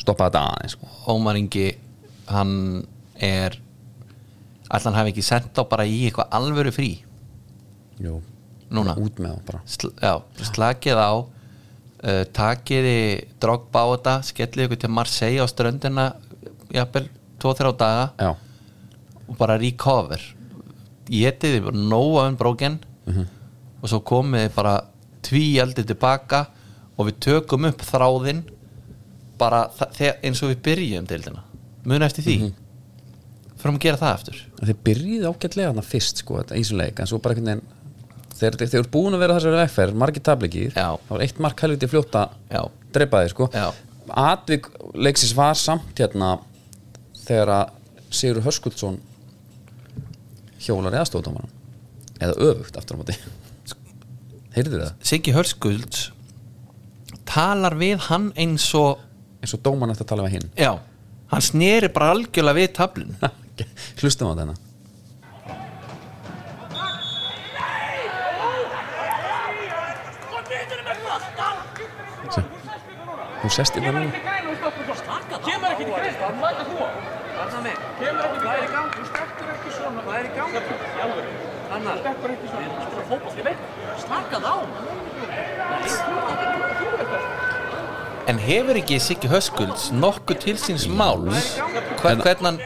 Speaker 1: stoppa þetta aðeins sko.
Speaker 2: Ómar Ingi hann er allan hafi ekki sendt á bara í eitthvað alvöru frí
Speaker 1: Jú.
Speaker 2: núna
Speaker 1: út með það bara
Speaker 2: Sl já, slakið á uh, takiði drogba á þetta skellið ykkur til Marseille á ströndina jafnvel, 2-3 daga
Speaker 1: já,
Speaker 2: og bara recover getiði bara nóa um brókin og svo komiði bara tvíaldið tilbaka og við tökum upp þráðinn bara þa- þe- eins og við byrjum deildina muna eftir því mm fyrir að gera það eftir
Speaker 1: þeir byrjuði ágætlega þarna fyrst sko, þetta ísuleik, en svo bara einhvern veginn þeir, þeir, þeir eru búin að vera þessari vegferð, margir tablikir
Speaker 2: Já.
Speaker 1: það var eitt mark helviti fljóta
Speaker 2: Já.
Speaker 1: dreipaði sko
Speaker 2: Já.
Speaker 1: atvik leiksins var samt hérna þegar að Sigur Höskuldsson hjólar eða stóðdómaran eða öfugt aftur á móti heyrðu það,
Speaker 2: Siggi Hörskuld talar við hann eins og
Speaker 1: eins og dóman eftir að tala við hinn
Speaker 2: já, hann sneri bara algjörlega við tablin
Speaker 1: hlustum á þetta hérna. hún sest inn að núna
Speaker 4: Kemur ekki í grein, það mæta þú á. Anna mig, kemur ekki í grein. Hvað er í gangi? Þú stekkur ekki svona. Hvað er í gangi? Jálfur. Anna. Þú stekkur ekki svona. Þú spila fótboll. Ég veit, slakað á.
Speaker 2: en hefur ekki Siggi Hörskuld nokkuð til síns máls hver, hvern hann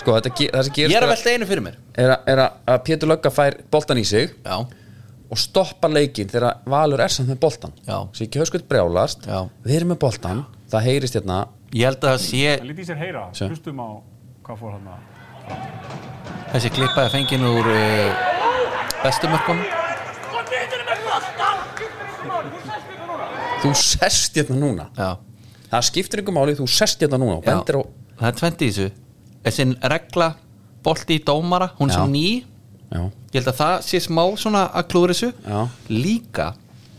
Speaker 1: sko, þetta, ge- það sem
Speaker 2: ég
Speaker 1: gerist
Speaker 2: er að velta einu fyrir mér
Speaker 1: er að, er að- að Pétur Lögga fær boltan í sig
Speaker 2: já,
Speaker 1: og stoppar leikinn þegar Valur er samt með boltan
Speaker 2: Já.
Speaker 1: svo ekki höfskvöld brjálast
Speaker 2: Já.
Speaker 1: við erum með boltan, það heyrist hérna
Speaker 2: ég held að það sé
Speaker 5: Það lítið sér heyra,
Speaker 1: Sjö.
Speaker 5: hlustum á hvað fór hann að
Speaker 2: Þessi klippa er fengin úr uh, bestumörkum
Speaker 1: þú sest hérna núna
Speaker 2: Já,
Speaker 1: það skiptir ykkur máli, þú sest hérna núna og
Speaker 2: já.
Speaker 1: bendir á
Speaker 2: Það er tvent í þessu Þessi regla bolti í dómara Hún
Speaker 1: Já.
Speaker 2: sem ný
Speaker 1: já,
Speaker 2: Ég held að það sé smá svona að klúra þessu
Speaker 1: Já.
Speaker 2: Líka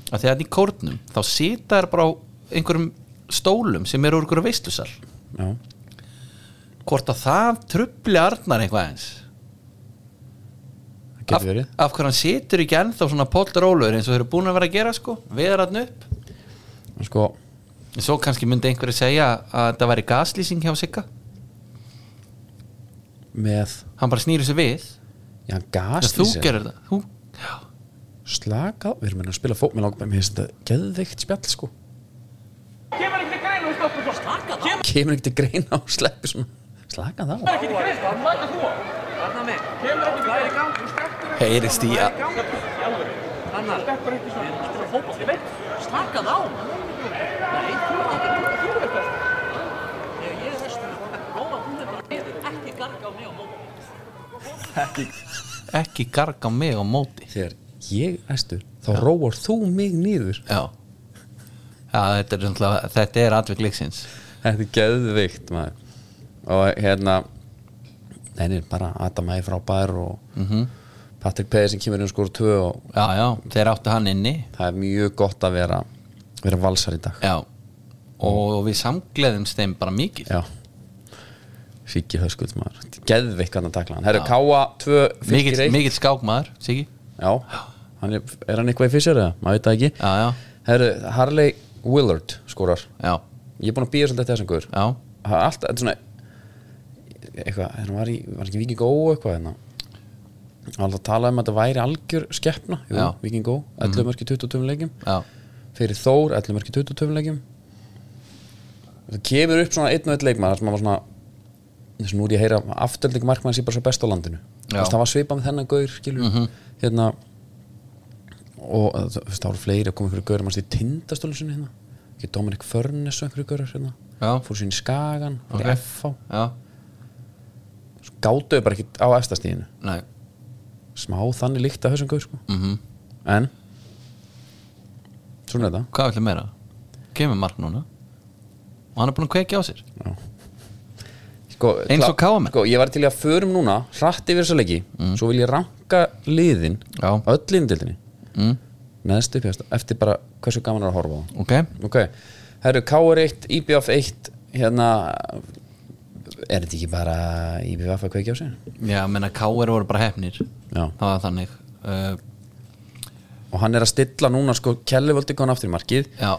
Speaker 2: að þegar hann í kórnum Þá sita þær bara á einhverjum stólum Sem eru úr einhverju veislusal
Speaker 1: já,
Speaker 2: Hvort að það trubli Arnar eitthvað eins
Speaker 1: það getur verið
Speaker 2: af hverju hann situr ekki ennþá svona póltrólur Eins og þeir eru búin að vera að gera sko Veðar hann upp
Speaker 1: sko,
Speaker 2: Svo kannski myndi einhverju segja að það væri gaslýsing hjá Sigga
Speaker 1: með
Speaker 2: hann bara snýri sér við
Speaker 1: já,
Speaker 2: Þegar þú
Speaker 1: gaslýsir,
Speaker 2: gerir það þú,
Speaker 1: slaka á, við erum hérna að spila fót með langar, mér finnst þetta geðveikt spjall sko
Speaker 4: Kemur ekki í grein og stoppar svo. Slakað á. Kemur
Speaker 1: kemur ekki til greina og sleppi svona slaka það á,
Speaker 4: ekki í grein, það mæta þú á. Anna mig, kemur ekki í grein. Hvað er í gangi? Þú stekkur ekki
Speaker 2: Heyrist í
Speaker 4: svona.
Speaker 2: að-
Speaker 4: Hvað er í gangi? Jálfur. Anna. Þú stekkur ekki svona. Þú spila fótboll. Ég veit, slakað á. Nei, þú ekki. Þú er best. Ég ég er vestur. Róma, þú er bara liðið. Ekki garga á mig á móti.
Speaker 2: ekki garga mig á móti
Speaker 1: þegar ég æstur þá róar þú mig nýður
Speaker 2: já, já þetta, er, náttúrulega- þetta er atvik leiksins
Speaker 1: Þetta er geðvikt maður. og hérna neini, bara Adam Æ frábær og
Speaker 2: Mhm.
Speaker 1: Patrick Pei sem kemur inn og skora tvö og
Speaker 2: já, já, þeir áttu hann inni
Speaker 1: það er mjög gott að vera vera valsar í dag
Speaker 2: já, og við samgleðumst þeim bara mikið
Speaker 1: Já Siggi Höskulds maður, Þetta er geðvikt hvernig að takla hann Herru, Káa, tvö, fylgir
Speaker 2: mikill
Speaker 1: eitt
Speaker 2: mikil skákmaður, Siggi
Speaker 1: Já, hann er, er hann eitthvað í fyrst eða? Maður veit það ekki
Speaker 2: já, já,
Speaker 1: Herru, Harley Willard skorar
Speaker 2: já,
Speaker 1: Ég er búin að býja svolítið eftir þessum guður
Speaker 2: já
Speaker 1: Það er alltaf, þetta er svona eitthvað, hann var í, var ekki Viking Ó eitthvað hérna Það var alltaf að tala um að þetta væri algjör skeppna Jú,
Speaker 2: Já.
Speaker 1: Viking Ó, 11 mörki 22 leikjum
Speaker 2: Já,
Speaker 1: Fyrir Þór, 11 mörki 22 leikjum Það kemur upp svona einn og einn leikmann þar sem maður svona eins og nú er ég að heyra afturölding markmann sé bara svo best á landinu Þú
Speaker 2: Já. Mhm.
Speaker 1: veist, það var svipað með þennan gaur skilur hérna og uh, þú veist, það voru fleiri að koma einhverju gaur mannst í tindastölu sinni hérna ekki Dominic Furness og einhverju gaurar hérna
Speaker 2: Já.
Speaker 1: fór sín í Skagan, fór
Speaker 2: Ok.
Speaker 1: í FH
Speaker 2: já,
Speaker 1: gátuðu bara ekki á efstastíðinu
Speaker 2: nei
Speaker 1: smá þannig líkt að þessum gaur sko.
Speaker 2: mm
Speaker 1: en svona er þetta
Speaker 2: Hvað ætlum meira? Kemur mark núna og hann er búin að kveikja á sér
Speaker 1: sko,
Speaker 2: Eins og Mm.
Speaker 1: klá-
Speaker 2: KM.
Speaker 1: sko, ég var til í að förum núna hratt yfir þessa leiki svo vil ég ranka liðin
Speaker 2: Já.
Speaker 1: öll liðindildinni
Speaker 2: mm.
Speaker 1: neðst upp hjá eftir bara hversu gaman er að horfa á það
Speaker 2: Ok,
Speaker 1: ok, herru KR 1, IBF 1 hérna er þetta ekki bara IBF að kveikja á sig
Speaker 2: já, menna K.R. voru bara hefnir
Speaker 1: já,
Speaker 2: það var þannig uh,
Speaker 1: og hann er að stilla núna sko Kellivöldi kom aftur í markið
Speaker 2: Já,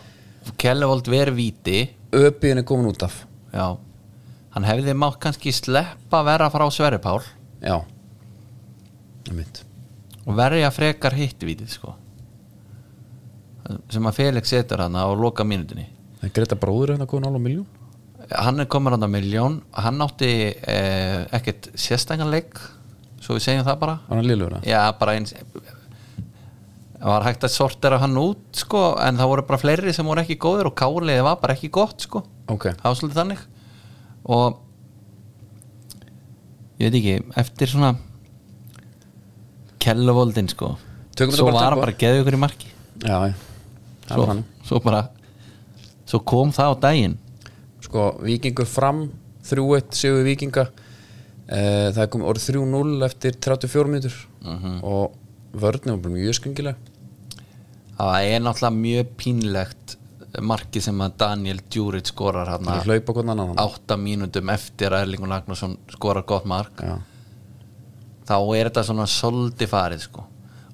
Speaker 2: Kellevold verið víti
Speaker 1: Öpiðin er komin út af
Speaker 2: Já, hann hefði mátt kannski sleppa vera frá Sverri Pál
Speaker 1: já Einmitt.
Speaker 2: og verja frekar hitt vítið sko sem að Felix setur hana á loka mínutinni
Speaker 1: en Greta bróður er hérna komin alveg miljón
Speaker 2: hann er komin hann að miljón hann átti eh, ekkert sérstækanleik svo við segjum það bara
Speaker 1: var hann liðlugur það
Speaker 2: já bara eins það var hægt að sortera hann út sko en það voru bara fleiri sem voru ekki góðir og káliði var bara ekki gott sko
Speaker 1: ok,
Speaker 2: það var svolítið þannig og ég veit ekki, eftir svona kelluvoldin sko
Speaker 1: Tökum þetta
Speaker 2: svo
Speaker 1: bara
Speaker 2: var hann
Speaker 1: tilbúið.
Speaker 2: bara að geða ykkur í marki
Speaker 1: já, já. það
Speaker 2: svo,
Speaker 1: var hann
Speaker 2: svo bara svo kom það á daginn
Speaker 1: sko, vikingur fram 3-1 sigur vikinga eh, það kom orð 3-0 eftir 34 mínútur
Speaker 2: Mhm.
Speaker 1: og vörðni var bara mjög skengileg
Speaker 2: það er náttúrulega mjög pínlegt marki sem að Daniel Djuric skorar hann
Speaker 1: það hlaupa hvernig annan
Speaker 2: átta mínútum eftir að Erlingur Ragnarsson skorar gott mark
Speaker 1: já,
Speaker 2: þá er þetta svona soldi farið sko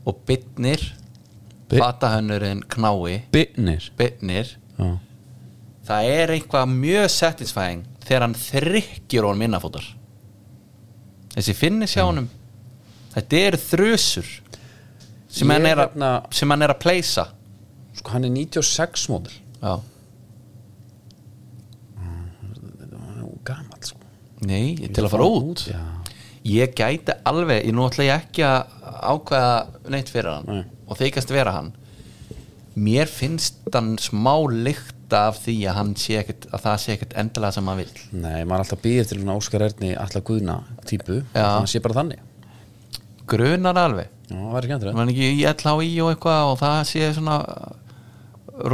Speaker 2: og bytnir
Speaker 1: Bi-
Speaker 2: fatahönnurinn knái
Speaker 1: Binnir
Speaker 2: bytnir
Speaker 1: já.
Speaker 2: það er eitthvað mjög satisfying þegar hann þrykkjur honum innafótar þessi finnis hjá honum þetta eru þrösur sem,
Speaker 1: Ég
Speaker 2: hann er, að,
Speaker 1: hérna-
Speaker 2: sem hann er að pleysa
Speaker 1: sko, hann er 96 módel
Speaker 2: já.
Speaker 1: hann er gamal sko
Speaker 2: nei, til að fara út
Speaker 1: já,
Speaker 2: ég gæti alveg, ég nú ætla ég ekki að ákveða neitt fyrir hann
Speaker 1: Nei.
Speaker 2: og þykast vera hann mér finnst hann smá lykta af því að, hann sé ekkert, að það sé ekkert endilega sem hann vil
Speaker 1: nei, maður er alltaf býðið til svona Óskar Erni allar guðna típu,
Speaker 2: Já.
Speaker 1: hann sé bara þannig
Speaker 2: grunar alveg
Speaker 1: já, það er ekki andrið
Speaker 2: var hann ekki í LHI og eitthvað og það sé svona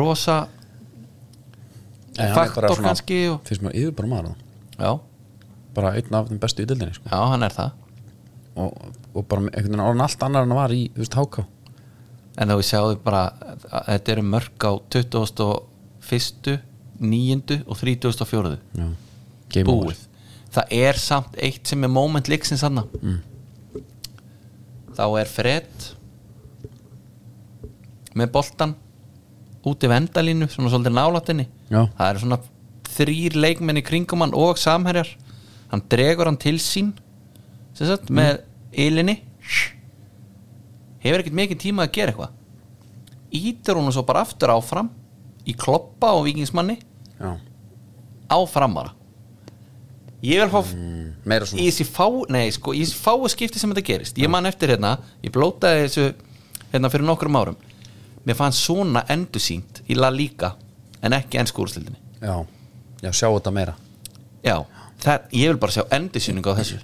Speaker 2: rosa faktor kannski og,
Speaker 1: finnst mér yfir bara maður það
Speaker 2: já,
Speaker 1: bara einn af þeim bestu í dildinni sko.
Speaker 2: já, hann er það
Speaker 1: og, og bara með einhvern veginn orðin allt annar en hann var í, þú veist, háká
Speaker 2: en þá við sjáum bara að þetta eru mörg á 2001 9. og 34.
Speaker 1: Já. Game over.
Speaker 2: búið það er samt eitt sem er moment líksins hann mm. þá er Fred með boltan úti vendalínu, svona svolítið nálatinni
Speaker 1: Já.
Speaker 2: það eru svona þrýr leikmenn í kringum hann og samherjar hann dregur hann til sín sem sagt,
Speaker 1: Mm.
Speaker 2: með ylinni hefur ekkert mikið tíma að gera eitthvað ítir hún svo bara aftur áfram í kloppa og vikingsmanni
Speaker 1: Já.
Speaker 2: áframara ég vil fá
Speaker 1: meira
Speaker 2: í þessi fá, nei sko, í þessi fáu skipti sem þetta gerist ég man eftir hérna, ég blótaði þessu hérna fyrir nokkrum árum mér fannst svona endursýnt í La Liga en ekki ennsku úrslildinni
Speaker 1: já, já, sjá þetta meira
Speaker 2: já, það, ég vil bara sjá endursýningu á þessu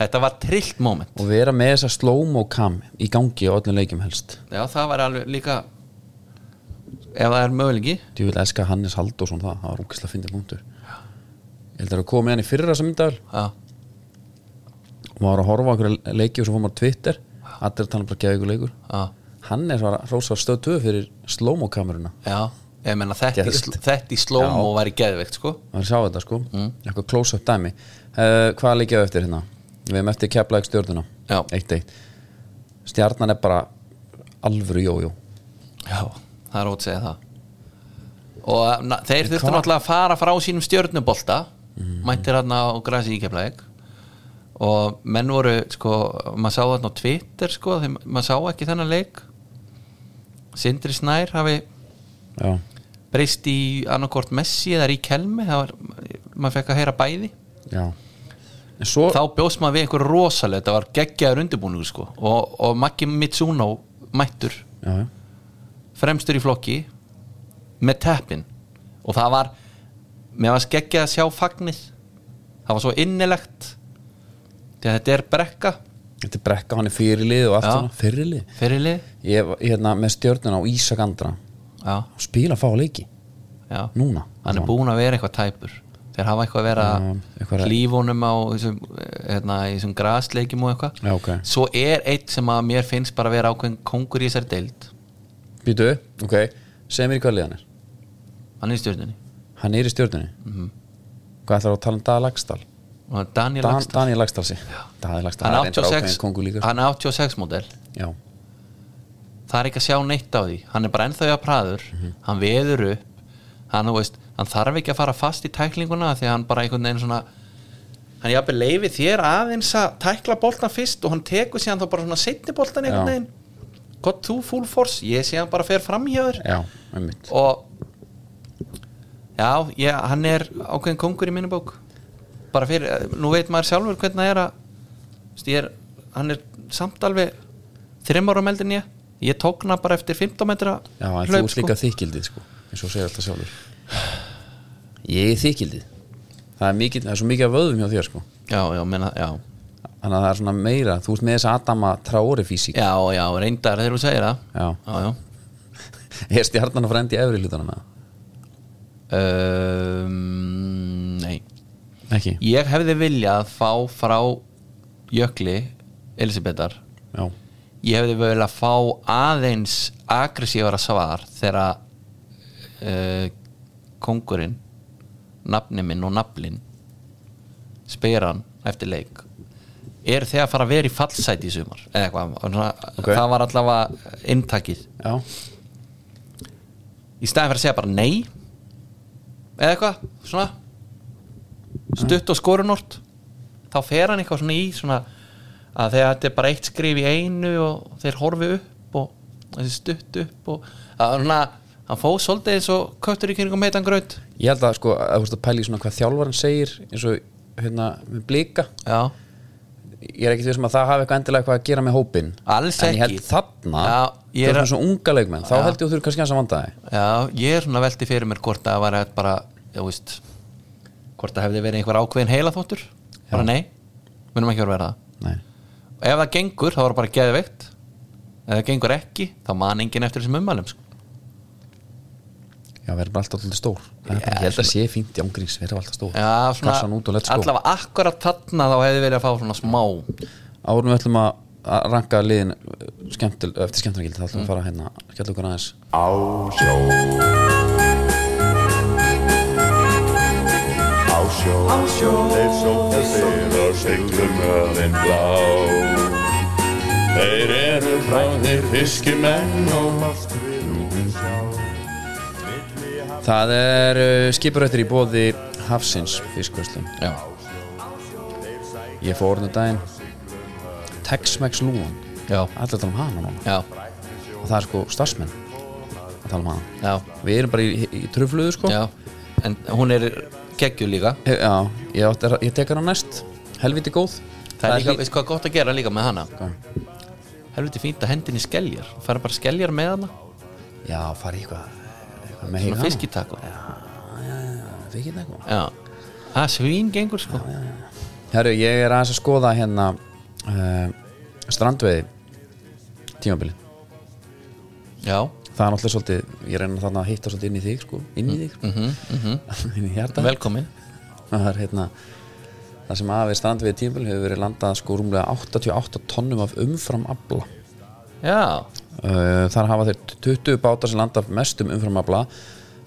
Speaker 2: þetta var trillt moment
Speaker 1: og vera með þessa slow-mo cam í gangi á öllum leikjum helst
Speaker 2: já, það var alveg líka ef það er möguleiki
Speaker 1: ég vil elska Hannes Halldórsson það, það var úkislega fyndið punktur ég held að það komið hann í fyrra sem myndavel
Speaker 2: já,
Speaker 1: og maður var að horfa á einhverja leiki og svo fór maður á Twitter allir að tala um bara geða ykkur leikur
Speaker 2: já,
Speaker 1: Hannes var að rósa stöð 2 fyrir slow-mo kameruna
Speaker 2: já ég meina þetta, í
Speaker 1: Geðveikt.
Speaker 2: sl- þetta í slóm
Speaker 1: Já.
Speaker 2: og var í geðveikt sko
Speaker 1: maður sá þetta sko,
Speaker 2: Mm.
Speaker 1: eitthvað close-up dæmi uh, hvað leikjaðu eftir hérna við hefum eftir keflaðið stjórnuna
Speaker 2: Já.
Speaker 1: eitt eitt stjarnan er bara alvöru jójó
Speaker 2: Já, það er ótt að segja það og eh, na, þeir þurftu
Speaker 1: hvað-
Speaker 2: náttúrulega að fara frá sínum stjörnubolta mættir hann á græsi íkeflæk og menn voru sko, maður sá þarna á Twitter sko, þeim, maður sá ekki þennan leik Sindri Snær hafi
Speaker 1: já,
Speaker 2: breyst í annarkort Messi eða í Kelmi það var, maður fekk að heyra bæði
Speaker 1: já en svo,
Speaker 2: þá bjóst maður við einhver rosalega þetta var geggjaður undirbúningur sko og, og Maggi Mitsuno mættur
Speaker 1: já, já.
Speaker 2: fremstur í flokki með teppin og það var mér var skeggjað að sjá fagnið það var svo innilegt því að þetta er brekka
Speaker 1: þetta er brekka hann er fyrirlið og allt
Speaker 2: Já.
Speaker 1: svona fyrirlið,
Speaker 2: fyrirlið
Speaker 1: ég var hérna með stjórnuna og Ísak Andra
Speaker 2: já,
Speaker 1: spila fá leiki,
Speaker 2: já.
Speaker 1: núna
Speaker 2: hann er búin að vera eitthvað tæpur þeir hafa eitthvað að
Speaker 1: Já, eitthvað
Speaker 2: vera
Speaker 1: að-
Speaker 2: klífunum á þessum, hérna, í þessum grasleikjum og eitthvað
Speaker 1: Já, ok.
Speaker 2: svo er eitt sem að mér finnst bara að vera ákveðin kongur í þessari deild
Speaker 1: býtu, ok, segð mér í hvað liðan er
Speaker 2: hann er í stjórninni
Speaker 1: hann er í stjórnunni hvað ætlar að tala um Daniel Lagstall
Speaker 2: og hann er Daniel
Speaker 1: Dan,
Speaker 2: Axel
Speaker 1: Daniel Lagstall sí. Daniel Lagstall
Speaker 2: hann
Speaker 1: er
Speaker 2: er
Speaker 1: reyndar ákveðin
Speaker 2: 86,
Speaker 1: kongur líka sko.
Speaker 2: hann er 86 model
Speaker 1: já,
Speaker 2: það er ekki að sjá neitt á því hann er bara ennþá að praður hann veður upp hann, þú veist, hann þarf ekki að fara fast í tæklinguna því að hann bara einhvern veginn svona hann jafnir leifi þér aðeins að tækla boltan fyrst og hann tekur síðan þá bara svona setni boltan einhvern
Speaker 1: Já.
Speaker 2: veginn gott þú full force, ég sé hann bara fer fram hjá þér
Speaker 1: Já, einmitt
Speaker 2: og já, ég, hann er ákveðin kongur í minni bók bara fyrir, nú veit maður sjálfur hvernig það er að þú veist, ég er, hann er samt alveg þrim ára meldin ég ég tók hana bara eftir 15 metra
Speaker 1: Já, en þú ert líka þykildið sko eins og segir alltaf sjálfur Ég er þykildið Það er, mikið, það er svo mikið af vöðum hjá þér sko
Speaker 2: já, já, menna, já,
Speaker 1: Þannig að það er svona meira, þú ert með þess Adama Traore físík
Speaker 2: já, já, reyndar þegar þú segir það
Speaker 1: Já.
Speaker 2: já, já.
Speaker 1: Er stjarnan að frendi efri hlutana með það?
Speaker 2: Um, nei
Speaker 1: Ekki?
Speaker 2: ég hefði viljað fá frá Jökli Elisabetar
Speaker 1: Já,
Speaker 2: ég hefði vel að fá aðeins aggressífara svar þegar uh, kongurinn nafni minn og naflin spyr hann eftir leik er þeir að fara að vera í fallsæti í sumar eða eitthvað, svona,
Speaker 1: Ok.
Speaker 2: það var allavega inntakið
Speaker 1: já,
Speaker 2: í staðin fyrir að segja bara nei eða eitthvað svona stutt og skorunort þá fer hann eitthvað svona í svona að þegar þetta er bara eitt skrif í einu og þeir horfi upp og þessi stutt upp og að svona hann fóð svolítið eins og köttur í kringum heitan gröð
Speaker 1: ég held að sko að þú ert að pæla í svona hvað þjálfaran segir eins og hérna með blika
Speaker 2: já,
Speaker 1: Ég er ekkit við sem að það hafi eitthvað endilega eitthvað að gera með hópin
Speaker 2: Alls
Speaker 1: En ég held
Speaker 2: ekki.
Speaker 1: þarna
Speaker 2: Já, ég
Speaker 1: Það
Speaker 2: er
Speaker 1: er
Speaker 2: að-
Speaker 1: svona unga leikmenn, þá
Speaker 2: Já.
Speaker 1: held ég að þú eru kannski hans að vanda þig
Speaker 2: já, ég er svona velti fyrir mér hvort að það var eitthvað bara, þú veist hvort það hefði verið einhver ákveðin heila þóttur bara nei, munum ekki vera að vera það
Speaker 1: Nei,
Speaker 2: og ef það gengur þá er það bara geðveikt ef það gengur ekki þá man enginn eftir þessum ummælum sko.
Speaker 1: já, verður bara alltaf alltaf stór Það er bara, Ég held að sé fínt í ángríns, verður alltaf stór
Speaker 2: já, svona,
Speaker 1: Kassan út og sko. let's go
Speaker 2: allavega akkurat þarna þá hefði verið að fá svona smá
Speaker 1: árum við ætlum að að ranka liðin uh, skemmtil, eftir skemmtunargildi þá
Speaker 2: Mm.
Speaker 1: ætlum við að fara hérna skella okkur aðeins
Speaker 6: á sjó Á sjó, á sjó, þeir sóttu sig og siglu möðin blá Þeir eru fræðir fiskimenn og mást við úr sjá Milli haf-
Speaker 1: það er uh, skipurrættir í bóði Hafsins fiskvöslum
Speaker 2: já,
Speaker 1: ég fór orðinu daginn Tex-Mex Lúan
Speaker 2: já,
Speaker 1: allir tala um hana núna
Speaker 2: já,
Speaker 1: og það er sko starfsmenn að tala um hana
Speaker 2: já,
Speaker 1: við erum bara í, í trufluðu sko
Speaker 2: já. en hún er geggju líka
Speaker 1: He- já ég, átti, að- ég tek hana næst helviti góð
Speaker 2: það er líka,
Speaker 1: lí-
Speaker 2: veist hvað er gott að gera líka með hana
Speaker 1: Hvað?
Speaker 2: helviti fínt að hendin í skeljar fara bara skeljar með hana
Speaker 1: já fara í eitthvað eitthvað með
Speaker 2: svona
Speaker 1: hana.
Speaker 2: fiskitaku
Speaker 1: Fiskitako.
Speaker 2: já, það svín gengur sko
Speaker 1: Herru, ég er aðeins að skoða hérna uh, strandveiði tímabili
Speaker 2: já,
Speaker 1: það er náttúrulega svolítið, ég reyna þarna að hitta svolítið inn í þig sko, inn í þig mm inn í hjarta
Speaker 2: velkomin
Speaker 1: það er hérna það sem aðeins strandveiði tímabili hefur verið landað sko rúmlega 88 tonnum af umfram abla
Speaker 2: já,
Speaker 1: uh, þar hafa þeir 20 bátar sem landa mest um umframabla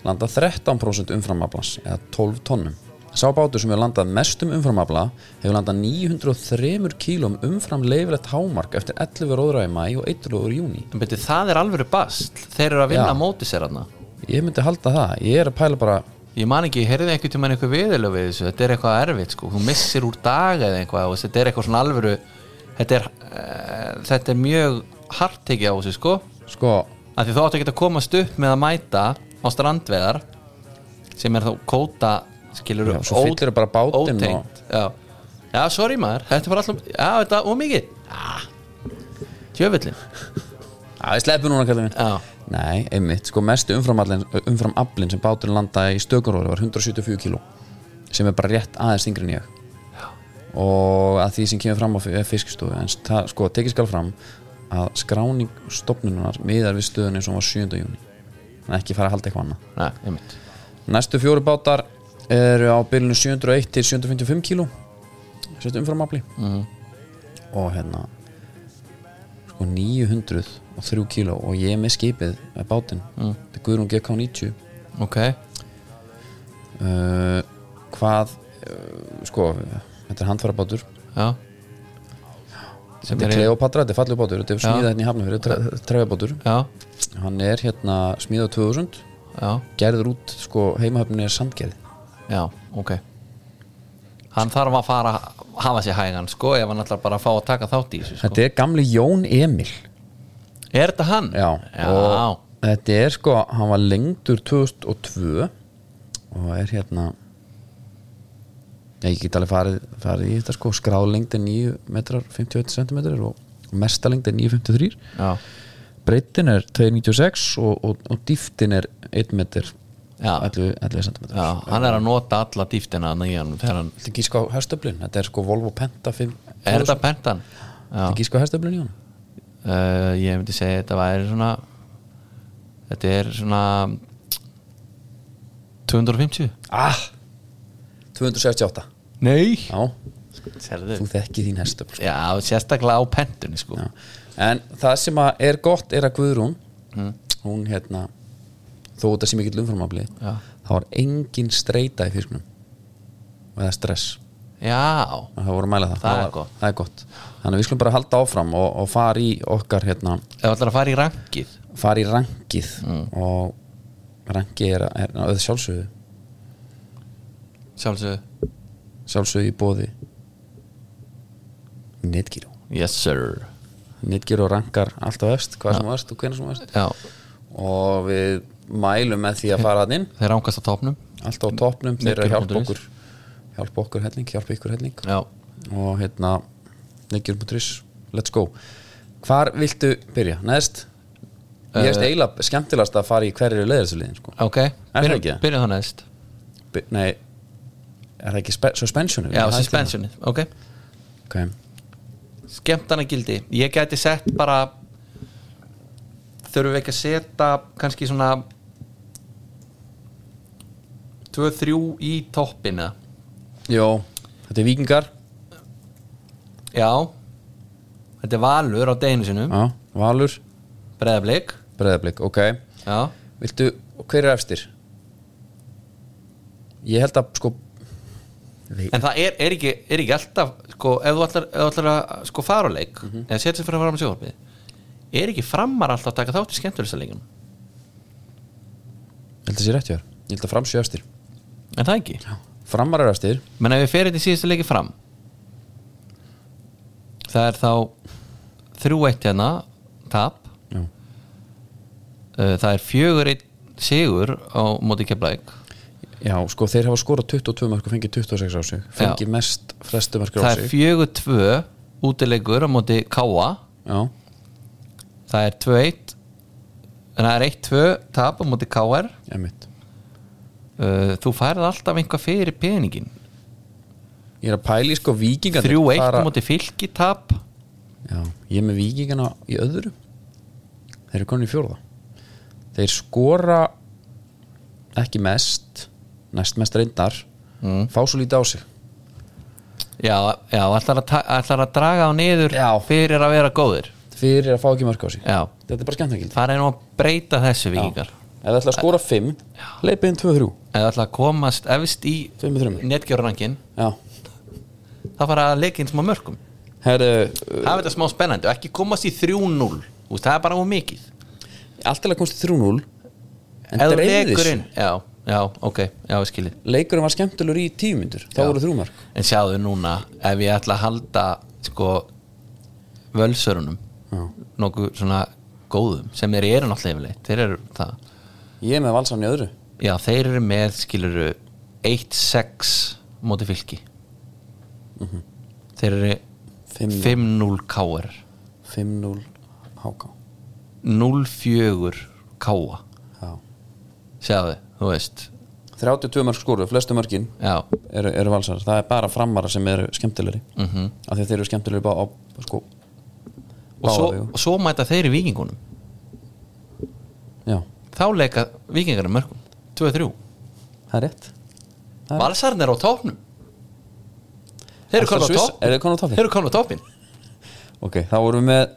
Speaker 1: landa 13% umframablans eða 12 tonnum Sá bátur sem hefur landað mest um umframabla hefur landað 903 kílum umfram leifilegt hámark eftir 11 róðra í mæ og 1 róður í júni.
Speaker 2: en betur það er alvöru bast þeir eru að vinna
Speaker 1: Já.
Speaker 2: á móti sér hana
Speaker 1: Ég myndi halda það. Ég er að pæla bara
Speaker 2: ég man ekki, ég heyrði einhvern tímann eitthvað viðurlega við þessu, þetta er eitthvað erfitt sko þú missir úr dag eða eitthvað og þetta er eitthvað svona alvöru þetta er, uh, þetta er mjög hartekið á þessu sko
Speaker 1: sko,
Speaker 2: af því þú átt ekki að komast upp með að mæta á strandveðar sem er þá kóta skilur
Speaker 1: Já, svo fyllirðu bara bátinn
Speaker 2: ótengt já. já, sorry maður, þetta er bara alltaf já, þetta er ómikið Ah. djöfullin
Speaker 1: að við sleppum núna kallum við.
Speaker 2: Já.
Speaker 1: Nei, einmitt. Sko mestu umframablin, umframablin sem báturinn landaði í stökuróður var 174 kíló sem er bara rétt aðeins þingri en ég. og að því sem kemur fram á fi- eh, fiskistofu en það, sko, tekið skal fram að skráning stopnunar miðar við stöðunni sem var 7. júni en ekki fara að halda eitthvað annað
Speaker 2: Nei, einmitt.
Speaker 1: næstu fjóru bátar eru á bylunu 701 til 755 kíló sett umframafli mm. og hérna sko 903 kíló og ég er með skipið með bátinn, mm. þetta er Guðrún GK90
Speaker 2: ok,
Speaker 1: uh, eh, hvað uh, sko, þetta er handfærabátur
Speaker 2: já sem
Speaker 1: Þetta er
Speaker 2: er-
Speaker 1: Kleopatra, þetta er fallið bátur Þetta er
Speaker 2: Já.
Speaker 1: smíðað hérna í hafnafyrir, tre, trefjabátur
Speaker 2: já,
Speaker 1: Hann er hérna smíðað 2000
Speaker 2: já,
Speaker 1: Gerður út, sko, heimahöfnin er samgerð
Speaker 2: já, ok hann þarf að fara að hafa sér hægan sko ef hann ætlar bara að fá að taka þátt í þessu sko.
Speaker 1: Þetta er gamli Jón Emil
Speaker 2: er þetta hann?
Speaker 1: Já,
Speaker 2: já,
Speaker 1: og þetta er sko Hann var lengdur 2002 Og er hérna Ég get alveg farið, farið í þetta sko Skrálengd er 9 metrar 51 cm og, og mestalengd er 9,53
Speaker 2: já,
Speaker 1: Breitin er 2,96 og, og, og dýftin er 1 metr
Speaker 2: Já.
Speaker 1: 11, 11 cm
Speaker 2: já, hann er að nota alla dýftina hann í hann þegar hann
Speaker 1: Þetta er gíska á herstöflun, þetta er sko Volvo Penta 5
Speaker 2: er þetta pentan?
Speaker 1: Þetta
Speaker 2: Já,
Speaker 1: er gíska á herstöflun í honum
Speaker 2: uh, ég myndi segja að þetta væri svona þetta er svona 250
Speaker 1: Ah, 268
Speaker 2: Nei
Speaker 1: Já, þú þekki þín herstöfl
Speaker 2: Já, sérstaklega á pentunni sko
Speaker 1: Já. En það sem að er gott er að Guðrún
Speaker 2: Mm.
Speaker 1: hún hérna þó þetta sem ekki umframafli
Speaker 2: Já.
Speaker 1: þá var engin streita í fisknum og það er stress
Speaker 2: Já,
Speaker 1: það voru að mæla það,
Speaker 2: Það er
Speaker 1: var-
Speaker 2: gott.
Speaker 1: það er gott Þannig að við skulum bara halda áfram og, og fara í okkar hérna,
Speaker 2: ef allar að fara í rankið
Speaker 1: fara í rankið
Speaker 2: Mm.
Speaker 1: og rankið er, er, er sjálfsögðu
Speaker 2: Sjálfsög
Speaker 1: sjálfsögðu í bóði Netgyro
Speaker 2: Yes sir
Speaker 1: Netgyro rankar alltaf efst hvað sem þú veist og hvernig sem þú veist
Speaker 2: Já,
Speaker 1: og við mælum með því að fara hann inn
Speaker 2: þeir ránkast á topnum
Speaker 1: alltaf á topnum, þeir eru að hjálpa
Speaker 2: Netgyro.is.
Speaker 1: okkur hjálpa okkur helling, hjálpa ykkur helling
Speaker 2: Já,
Speaker 1: og hérna Netgyro.is, let's go Hvar viltu byrja? Neðst? Ég veist eiginlega skemmtilegast að fara í hverju leðarsliðin sko.
Speaker 2: ok
Speaker 1: það
Speaker 2: Byrjum-
Speaker 1: ekki það?
Speaker 2: Byrjum þá næst
Speaker 1: By- Nei, er það ekki spe suspensionu?
Speaker 2: Já, suspensionið, ok
Speaker 1: okay.
Speaker 2: skemmtanagildi ég gæti sett bara þurfum við ekki að setja kannski svona 2-3 í toppina
Speaker 1: Jó, þetta er vikingar
Speaker 2: já þetta er valur á deginu sinum
Speaker 1: Já, Valur,
Speaker 2: breðablik
Speaker 1: Breiðablík, ok
Speaker 2: já,
Speaker 1: Viltu, hver er efstir? Ég held að sko
Speaker 2: en það er, er, ekki, er ekki alltaf sko, ef þú ætlar, ef þú ætlar að sko, fara á leik eða setja sér fyrir að fara á sjóðarpið er ekki framar alltaf að taka þátt í skemmtulistaleikunum
Speaker 1: Ég held að sé rétt hjá þér Ég held að fram sé efstir
Speaker 2: en það ekki
Speaker 1: Framar er efstir
Speaker 2: menn ef við fyrir þetta í síðustu leiki fram það er þá 3-1 hérna tap
Speaker 1: Já.
Speaker 2: Uh, það er 4-1 sigur á móti keflæk
Speaker 1: Já, sko þeir hafa skorað 22 mörg og fengið 26 á sig Fengið mest flestu mörg á
Speaker 2: það er
Speaker 1: sig
Speaker 2: 4-2 útilegur á móti káa
Speaker 1: Já,
Speaker 2: það er 2-1 en það er 1-2 tap á móti káar
Speaker 1: emitt
Speaker 2: uh, þú færð alltaf einhvað fyrir peningin
Speaker 1: Ég er að pæli sko vikingarnir
Speaker 2: 3-1
Speaker 1: fara-
Speaker 2: á móti fylki tap
Speaker 1: Já, ég er með vikingana í öðru Þeir eru komin í fjórða Þeir skora ekki mest næst mest reyndar
Speaker 2: Mm.
Speaker 1: fá svo lítið á sig
Speaker 2: já, já ætlar, að ta- ætlar að draga á niður
Speaker 1: Já.
Speaker 2: fyrir að vera góðir
Speaker 1: fyrir að fá ekki mörg á sig
Speaker 2: já
Speaker 1: Þetta er bara skemmtnægild
Speaker 2: Það er nú að breyta þessu vikingar
Speaker 1: Ef það ætla að skora 5, leipið inn 2-3
Speaker 2: Eða ætla að komast efst í
Speaker 1: 5-3
Speaker 2: netgjörrankin
Speaker 1: Já,
Speaker 2: Það fara að leika eins og mörgum
Speaker 1: herðu
Speaker 2: Það er þetta smá spennandi og ekki komast í 3-0 Þú veist, Það er bara úr mikið
Speaker 1: Alltaf að komst í 3-0 En
Speaker 2: Ef þú
Speaker 1: dreifðist.
Speaker 2: tekur inn- Já, já, ok, já, ég skilji
Speaker 1: Leikurinn var skemmtilegur í tímyndur Þá
Speaker 2: Já.
Speaker 1: voru þrjúmark
Speaker 2: En sjáðu núna, ef ég ætla að halda sko völsörunum nokkuð svona góðum sem þeir eru náttúrulega yfirleitt Þeir eru það
Speaker 1: Ég er með valsan í öðru
Speaker 2: Já, þeir eru með skiluru 1-6 móti fylki Þeir eru
Speaker 1: 5-0.
Speaker 2: 5-0 káar
Speaker 1: 5-0 HK
Speaker 2: 0-4 káa
Speaker 1: Já.
Speaker 2: Sjáðu, þú veist
Speaker 1: 32 mörg skoru, flestu mörgin
Speaker 2: Já,
Speaker 1: eru, eru valsar Það er bara framara sem eru skemmtilegri mm -hmm. Af því að þeir eru skemmtilegri bara á sko,
Speaker 2: og svo,
Speaker 1: vegu.
Speaker 2: og svo mæta þeir í vikingunum
Speaker 1: Já,
Speaker 2: Þá leika vikingarnir mörgum 2-3
Speaker 1: það er rétt Það er-
Speaker 2: Valsarinn er á tópnum Þeir eru
Speaker 1: Er það
Speaker 2: komin á
Speaker 1: Sviss-
Speaker 2: tópnum
Speaker 1: eru þeir komin á toppinn?
Speaker 2: Þeir eru komin á tópnum
Speaker 1: Ok, þá vorum við með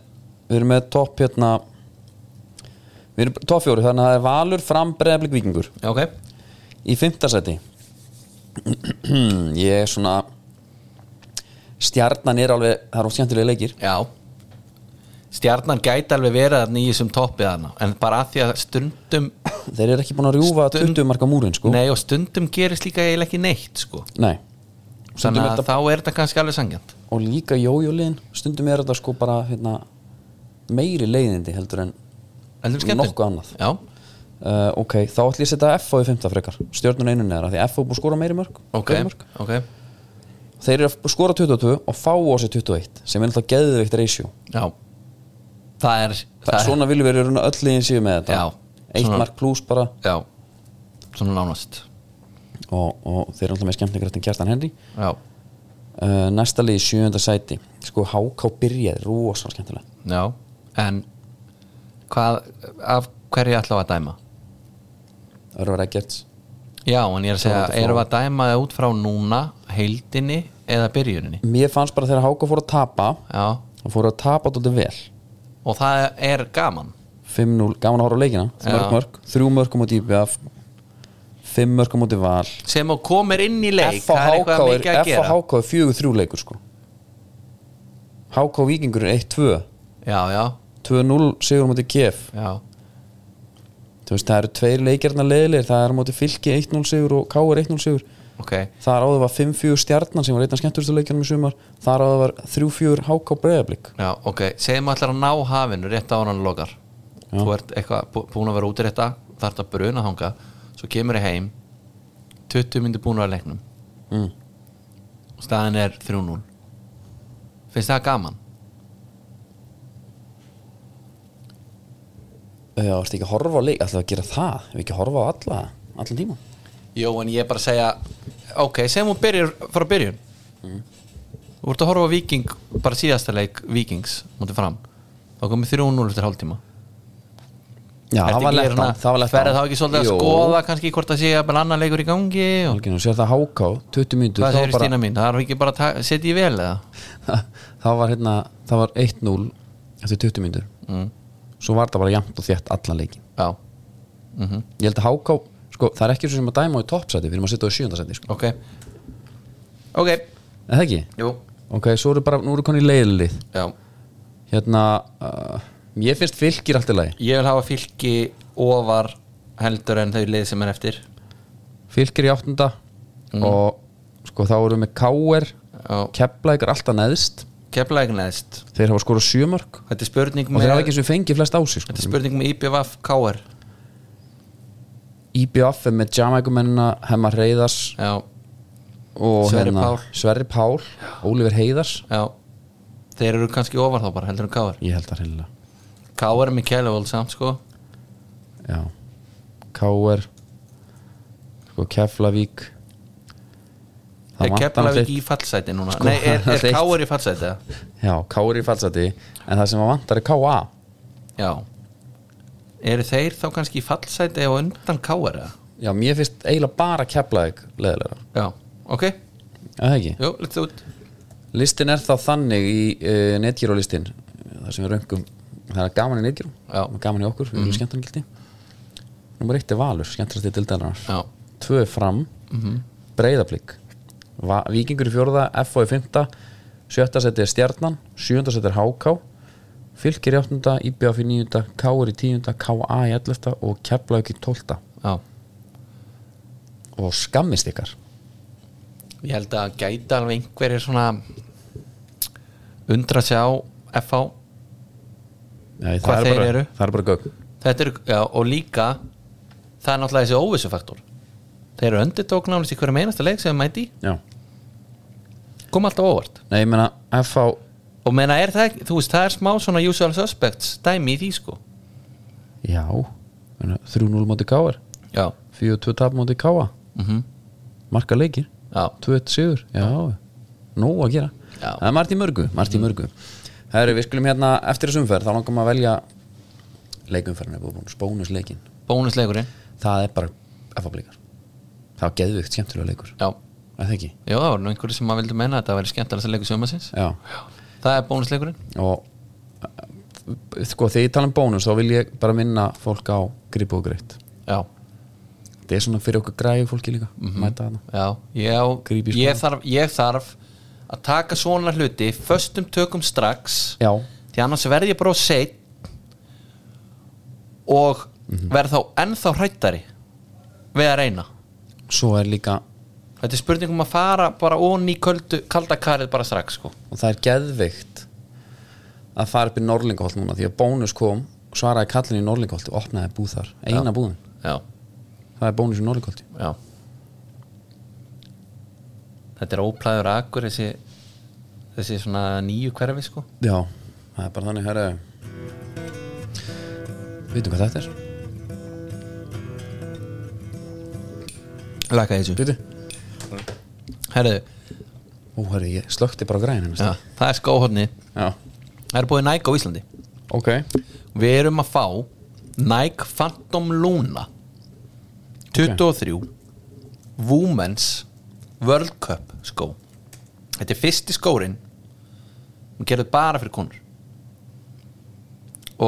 Speaker 1: Við erum með topp hérna Við erum topp fjóri, þannig að það er Valur, Fram, Breiðablik, Víkingur
Speaker 2: Já, ok
Speaker 1: Í fimmtasæti [CLEARS THROAT] Ég er svona Stjarnan er alveg, það er óskemmtilega leikir
Speaker 2: Já stjarnan gæti alveg verið þarna í þessum toppið hana en bara að því að stundum
Speaker 1: Þeir eru ekki búin að rjúfa
Speaker 2: Stund-
Speaker 1: 20 marka múrin sko
Speaker 2: nei og stundum gerist líka eiginlega ekki neitt sko
Speaker 1: Nei. Stundum
Speaker 2: þannig
Speaker 1: er
Speaker 2: að
Speaker 1: þetta,
Speaker 2: þá er þetta kannski alveg sangjant
Speaker 1: og líka jójóliðin stundum er þetta sko bara hérna, meiri leiðindi heldur en nokkuð annað
Speaker 2: já,
Speaker 1: uh, ok, þá ætlum ég að setja FO í 5. frekar stjórnun einu neðra, því að FO er búið að skora meiri mörg
Speaker 2: ok,
Speaker 1: fleiri mörk.
Speaker 2: ok
Speaker 1: þeir eru að skora 22 og fá á sig 21 sem er náttúrulega geðveikt ratio
Speaker 2: já það er,
Speaker 1: Það, svona viljum við raun og öll liðin síðan með þetta
Speaker 2: Já.
Speaker 1: eitt
Speaker 2: Svona-
Speaker 1: mark pluss bara
Speaker 2: já, svona nánast
Speaker 1: og, og þeir eru alltaf með skemmtingrættin Kjartan Henry
Speaker 2: já,
Speaker 1: uh, næsta lið í sjöunda sæti sko HK byrjaði rosa skemmtilega
Speaker 2: já, en hvað, af hverju ætlum við að dæma?
Speaker 1: Örvar Eggerts
Speaker 2: Já, en ég er að segja,
Speaker 1: Svona þetta
Speaker 2: erum við að dæma það út frá núna, heildinni eða byrjuninni?
Speaker 1: mér fannst bara þegar HK fór að tapa
Speaker 2: Já,
Speaker 1: hann fór að tapa þetta vel
Speaker 2: og það er gaman
Speaker 1: 5-0, gaman að horfa á leikina
Speaker 2: Já.
Speaker 1: mörg mörg, þrjú mörg á móti IBF fimm mörg á móti Val
Speaker 2: sem að komir inn í leik,
Speaker 1: F á
Speaker 2: það er
Speaker 1: HK
Speaker 2: eitthvað
Speaker 1: er,
Speaker 2: mikið að
Speaker 1: F á
Speaker 2: gera
Speaker 1: HK er 4-3 leikur sko HK Víkingur er 1-2
Speaker 2: Já, já,
Speaker 1: 2-0 sigur á móti KF
Speaker 2: já,
Speaker 1: Þú veist, það eru tveir leikjarnar leðilegir það er á móti fylki 1-0 sigur og KR 1-0 sigur
Speaker 2: ok
Speaker 1: þar áður var 5-4 stjarnan sem var einn af skemmtustu leikjarnum í sumar þar áður var 3-4 HK Breiðablík
Speaker 2: Já, ok, segjum allar að ná hafinu rétt ára hann lokar Þú ert eitthvað bú- búin að vera út í þetta þarf að bruna þanga, svo kemur ég heim 20 myndir búin að vera í leiknum
Speaker 1: Mm.
Speaker 2: staðin er 3-0 finnst það gaman?
Speaker 1: Já, ertu ekki að horfa á leik ætlaðu að gera það, ef ekki að horfa á alla allan tíma
Speaker 2: Jó, en ég er bara að segja ok, segjum hún byrjur frá byrjun
Speaker 1: Mm.
Speaker 2: Þú ert að horfa á Viking bara síðasta leik Vikings mútið fram, þá komið 3-0 eftir hálftíma
Speaker 1: Já,
Speaker 2: Ertu
Speaker 1: það var
Speaker 2: ekki
Speaker 1: lett á,
Speaker 2: hérna-
Speaker 1: það var lett á
Speaker 2: Ferðu þá ekki svolítið að
Speaker 1: Jú.
Speaker 2: skoða kannski hvort það sé að bara annan leikur í gangi og
Speaker 1: Algjörn, og sér það HK, 20 mínútur
Speaker 2: hvað
Speaker 1: þá
Speaker 2: segir
Speaker 1: bara- [LAUGHS]
Speaker 2: Stína mín, það er ekki bara að ta- setja í vel eða
Speaker 1: það var hérna, það var 1-0 eftir 20 mínútur
Speaker 2: Mm.
Speaker 1: svo var það bara jæmt og þétt allan leikin
Speaker 2: Já,
Speaker 1: ég held að HK, sko, það er ekki svo sem að dæma á í toppsæti, við erum að setja á í sjöndasæti sko.
Speaker 2: ok Ok,
Speaker 1: er það ekki?
Speaker 2: jú
Speaker 1: ok, svo eru bara, nú eru konni leiðlið
Speaker 2: Já.
Speaker 1: hérna, uh, ég finnst fylgir allt í lagi
Speaker 2: Ég vil hafa fylki ofar heldur en þau lið sem er eftir
Speaker 1: fylgir í áttunda og sko, þá eru við með KR
Speaker 2: Mm. Já.
Speaker 1: Keflæk er alltaf neðst
Speaker 2: Keflæk neðst
Speaker 1: þeir hafa skorað sjömörk
Speaker 2: Þetta er spurning
Speaker 1: og
Speaker 2: með
Speaker 1: þeir hafa ekki sem fengið flest á sig
Speaker 2: Þetta
Speaker 1: sko.
Speaker 2: er spurning með IPVF KR
Speaker 1: IBF er með Jamaikumennina Hemma Reyðars
Speaker 2: Já,
Speaker 1: og
Speaker 2: Sverrir
Speaker 1: hérna,
Speaker 2: Pál.
Speaker 1: Sverri Pál Ólífur Heiðars
Speaker 2: já Þeir eru kannski ofar þá bara heldur en KR
Speaker 1: Ég held það hreinlega
Speaker 2: KR er með Kjæluvöld samt sko
Speaker 1: Já K.R. Sko Keflavík
Speaker 2: Er
Speaker 1: vantar
Speaker 2: Keflavík
Speaker 1: náttúrulega-
Speaker 2: í fallsæti núna?
Speaker 1: Sko,
Speaker 2: Nei, [LAUGHS] er,
Speaker 1: það
Speaker 2: er
Speaker 1: er eitt.
Speaker 2: KR í fallsæti? eða?
Speaker 1: Já, K.R. í falsati En það sem að vantar er K.A.
Speaker 2: Já Eru þeir þá kannski í fallsæti og undan KR? eða?
Speaker 1: Já, mér finnst eiginlega bara Keflavík leðilega
Speaker 2: Já, ok,
Speaker 1: Það ekki
Speaker 2: jú, lítið út
Speaker 1: Listin er þá þannig í uh, netgyró listin Það sem við röngum Það er gaman í netgyró
Speaker 2: Já. Mhm.
Speaker 1: Gaman í okkur, við erum mm. skemmtarngildi Númer eitt er Valur, skemmtarasti dildarinnar
Speaker 2: Já, Mhm.
Speaker 1: tvö er fram mm -hmm. breyðablík Víkingur í fjórða, FO í fymta sjötta seti er Stjarnan, sjönda seti er HK Fylkir í áttunda, IBF í níunda KR í tíunda, KA í ellefta og Keflavík í tólta
Speaker 2: já
Speaker 1: og skammist ykkar
Speaker 2: Ég held að gæta alveg einhverjir svona undra sig á FH
Speaker 1: Nei,
Speaker 2: Hvað
Speaker 1: það,
Speaker 2: þeir
Speaker 1: er bara,
Speaker 2: eru?
Speaker 1: það er bara gögn
Speaker 2: Þetta er, já, og líka það er náttúrulega þessi óvissufaktor Þeir eru öndirtók nánast í hverjum einasta leik sem þeir mæti í,
Speaker 1: Já.
Speaker 2: kom alltaf óvart
Speaker 1: Nei, ég meina FH
Speaker 2: og meina er það ekki, þú veist, það er smá svona usual suspects dæmi í því sko
Speaker 1: já, ég meina, 3-0 móti KR
Speaker 2: Já,
Speaker 1: 4-2 tap móti KA
Speaker 2: Mhm.
Speaker 1: marka leikir
Speaker 2: já,
Speaker 1: 2-1 sigur, já nóg að gera,
Speaker 2: Já. Mhm.
Speaker 1: það er margt í mörgu margt í mörgu, herru við skulum hérna eftir þessu umferð, þá langum að velja leikumferðin er búin, spónusleikin
Speaker 2: bónusleikurinn
Speaker 1: það er bara efablíkar það var geðvikt skemmtilega leikur,
Speaker 2: Já,
Speaker 1: er það ekki?
Speaker 2: já, það var nú einhverju sem að vildu meina að þetta væri skemmtilegast að leikur sjömasins
Speaker 1: Já,
Speaker 2: Það er bónusleikurinn
Speaker 1: og uh, sko þegar ég tala um bónus þá vil ég bara minna fólk á grip og greitt
Speaker 2: Já,
Speaker 1: það er svona fyrir okkur græðu fólki líka
Speaker 2: Mhm.
Speaker 1: mæta hana,
Speaker 2: já, ég, á,
Speaker 1: Gríp í
Speaker 2: ég,
Speaker 1: skóna.
Speaker 2: þarf, ég þarf að taka svona hluti föstum tökum strax
Speaker 1: já,
Speaker 2: því því annars verð ég bara of seinn og verð þá ennþá hrættari við að reyna
Speaker 1: svo er líka
Speaker 2: þetta er spurning um að fara bara onni í köldu, kalda karið bara strax sko.
Speaker 1: og það er geðveikt að fara upp í Norlingholt núna því að bónus kom og svaraði kallin í Norlingholt og opnaði búð þar, eina búðin
Speaker 2: já,
Speaker 1: það er bónus í Norlingholti
Speaker 2: já þetta er óplæður akkur þessi, þessi svona nýju hverfi sko.
Speaker 1: já, það er bara þannig herra veitum hvað þetta er
Speaker 2: laka þessu
Speaker 1: veitum,
Speaker 2: Herðu,
Speaker 1: ó herri, ég slökti bara græn
Speaker 2: já, það er skóhorni
Speaker 1: já,
Speaker 2: það er búið Nike á Íslandi
Speaker 1: ok
Speaker 2: við erum að fá Nike Phantom Luna 23 Women's World Cup skó þetta er fyrsti skórin hún gerði bara fyrir konur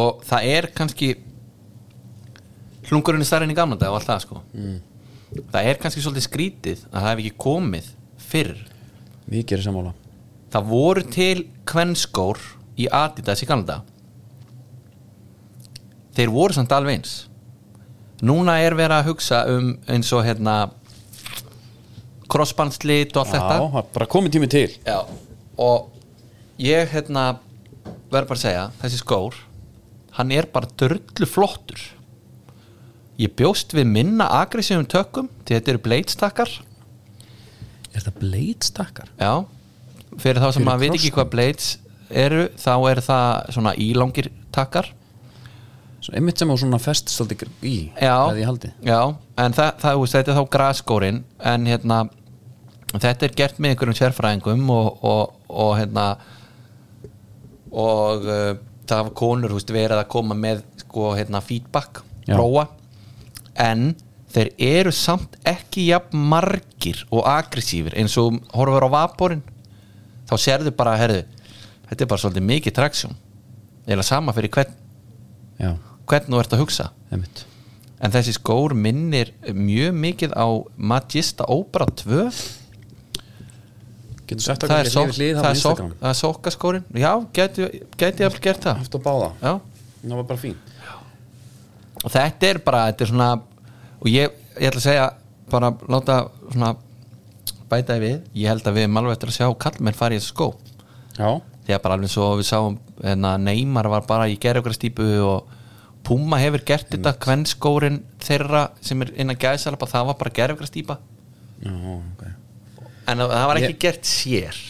Speaker 2: og það er kannski hlungurinn er starrinn í gamla dag og allt það sko mm. það er kannski svolítið skrítið að það hef ekki komið fyrr
Speaker 1: við gerum sammála
Speaker 2: það voru til kvenskór í Adidas í Kanada þeir voru samt alveg eins núna er verið að hugsa um eins og hérna crossbandslit og allt
Speaker 1: já,
Speaker 2: þetta
Speaker 1: það er bara komið tími til
Speaker 2: Já, og ég hérna verð bara að segja, þessi skór hann er bara dörrlu flottur ég bjóst við minna agressífum tökum, því þetta eru bleitstakkar
Speaker 1: er það bleidstakkar?
Speaker 2: Já, fyrir þá sem
Speaker 1: Fyrir
Speaker 2: maður veit ekki
Speaker 1: krossnum.
Speaker 2: hvað blades eru þá er það svona ílangir takkar
Speaker 1: Svo einmitt sem á svona fest svolítið í
Speaker 2: Já,
Speaker 1: hefði ég haldið
Speaker 2: já en það, það, þú veist, þetta er þá graskórin en hérna þetta er gert með einhverjum sérfræðingum og, og, og hérna og uh, það hafa konur þú veist, verið að koma með sko, hérna, feedback,
Speaker 1: Já.
Speaker 2: prófa en þeir eru samt ekki jafn margir og agressífir eins og horfur á vaporinn þá sérðu bara, herðu þetta er bara svolítið mikið traksjón eða sama fyrir hvern,
Speaker 1: já,
Speaker 2: hvern þú ert að hugsa
Speaker 1: einmitt
Speaker 2: en þessi skór minnir mjög mikið á Magista Opera 2
Speaker 1: getur sett
Speaker 2: það er, sok,
Speaker 1: hlið
Speaker 2: það, er sok, það er sokkaskórin já, gæti, gæti ég alveg gert það
Speaker 1: haft og báða
Speaker 2: já.
Speaker 1: það var bara fín
Speaker 2: og þetta er bara þetta er svona, og ég, ég ætla að segja bara láta svona, bæta í við, ég held að við erum alveg eftir að sjá kallmenn fara í þessu skó
Speaker 1: já,
Speaker 2: því að bara alveg svo við sáum hérna, Neymar var bara í gerðjókrastípu og Puma hefur gert þetta kvennskórin þeirra sem er innan gæðsalapa það var bara gerðjókrastýpa
Speaker 1: já, ok
Speaker 2: en það það var ekki
Speaker 1: Ég-
Speaker 2: gert sér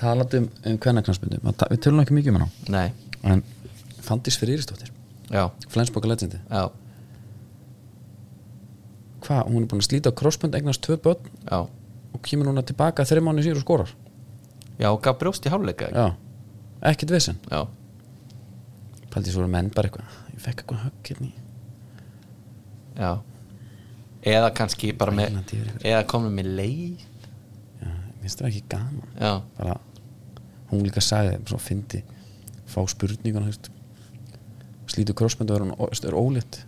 Speaker 1: talandi um, um kvennaknarsmyndu við tölum ekki mikið um hana
Speaker 2: nei,
Speaker 1: en Fandís Frýrisdóttir,
Speaker 2: já,
Speaker 1: Flensborg legendi
Speaker 2: já,
Speaker 1: hvað, hún er búin að slíta á crossbund eignast tvö börn
Speaker 2: já
Speaker 1: og kemur núna tilbaka þreim mánu síður og skorar
Speaker 2: já, og gaf brjóst í hálfleika já.
Speaker 1: já, ekkert vesen
Speaker 2: já,
Speaker 1: pældi svo eru menn bara eitthvað, ég fekk eitthvað högg hérna í
Speaker 2: já eða kannski bara með
Speaker 1: Ælandi yfir ykkur.
Speaker 2: eða komið með leið
Speaker 1: já, minnst það ekki gaman
Speaker 2: já,
Speaker 1: bara, hún líka sagði svo fyndi, fá spurninguna hefst. slítu crossbund og er, hún- er ólétt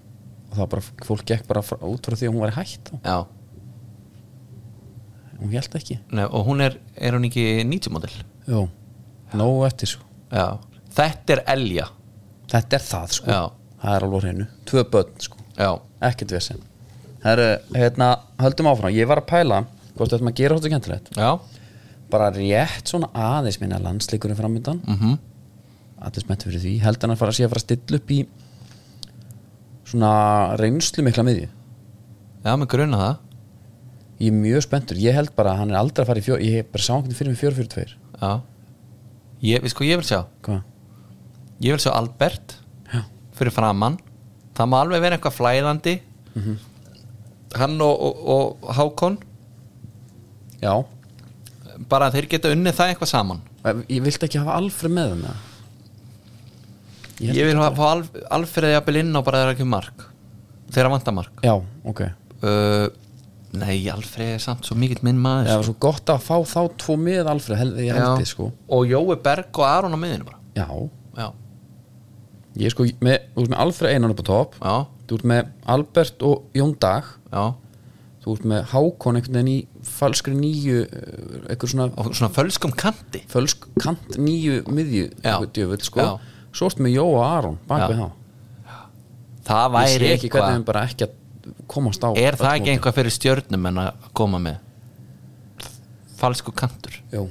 Speaker 1: og það bara, fólk gekk bara frá- út frá því að hún var hætt þá.
Speaker 2: já
Speaker 1: hún held ekki
Speaker 2: Nei, og hún er, er hún ekki 90 model
Speaker 1: Jó, nógu eftir sko. svo
Speaker 2: já, þetta er Elja
Speaker 1: Þetta er það sko
Speaker 2: Já.
Speaker 1: Það er alveg á hreinu, tvö börn sko
Speaker 2: já,
Speaker 1: Ekkert vesen Herru, hérna, höldum áfram Ég var að pæla, hvort þetta maður gera hóttu kentilegt
Speaker 2: já,
Speaker 1: Bara rétt svona aðeins minna landsleikurinn framöndan mm -hmm. Allir smettu fyrir því Held hann að fara að sé að fara að stilla upp í Svona reynslu mikla miðju
Speaker 2: já, með gruna það
Speaker 1: Ég er mjög spenntur, ég held bara að hann er aldrei að fara í fjó Ég hef bara sá hann fyrir mig 442
Speaker 2: já ég, við sko, ég vil sjá
Speaker 1: Hvað?
Speaker 2: ég vil sjá Albert
Speaker 1: Já.
Speaker 2: fyrir framann það má alveg vera eitthvað flæðandi Mhm. hann og, og, og Hákon
Speaker 1: Já,
Speaker 2: bara að þeir geta unnið það eitthvað saman
Speaker 1: ég vildi ekki hafa Alfred með hann eða?
Speaker 2: ég,
Speaker 1: held
Speaker 2: vil hafa alf, alfreði að inn og bara þeirra ekki mark þeirra vanta mark
Speaker 1: Já, ok
Speaker 2: uh, nei, alfreði er samt svo mikill minn
Speaker 1: Það
Speaker 2: maður
Speaker 1: var svo gott að fá þá tvo með Alfred, hel, ég heldi sko
Speaker 2: og Jói Berg og Aron á miðinu bara
Speaker 1: Já,
Speaker 2: já,
Speaker 1: ég er sko með, þú ert með Alfred einan upp á topp
Speaker 2: já,
Speaker 1: Þú ert með Albert og Jón Dag
Speaker 2: já
Speaker 1: Þú ert með Hákon einhvern veginn í falskri nýju Eitthvað svona
Speaker 2: og svona fölskum kanti
Speaker 1: fölsk kant nýju miðju
Speaker 2: Já.
Speaker 1: einhver djöfull sko
Speaker 2: Já.
Speaker 1: svo ertu með Jóa Aron bak
Speaker 2: Já.
Speaker 1: við það
Speaker 2: það
Speaker 1: ég sé
Speaker 2: væri
Speaker 1: ekki hvernig
Speaker 2: eitthvað
Speaker 1: þeim bara ekki að komast á
Speaker 2: er það
Speaker 1: öll
Speaker 2: ekki
Speaker 1: mótin.
Speaker 2: eitthvað fyrir stjörnum en að koma með falsku kantur
Speaker 1: Jú,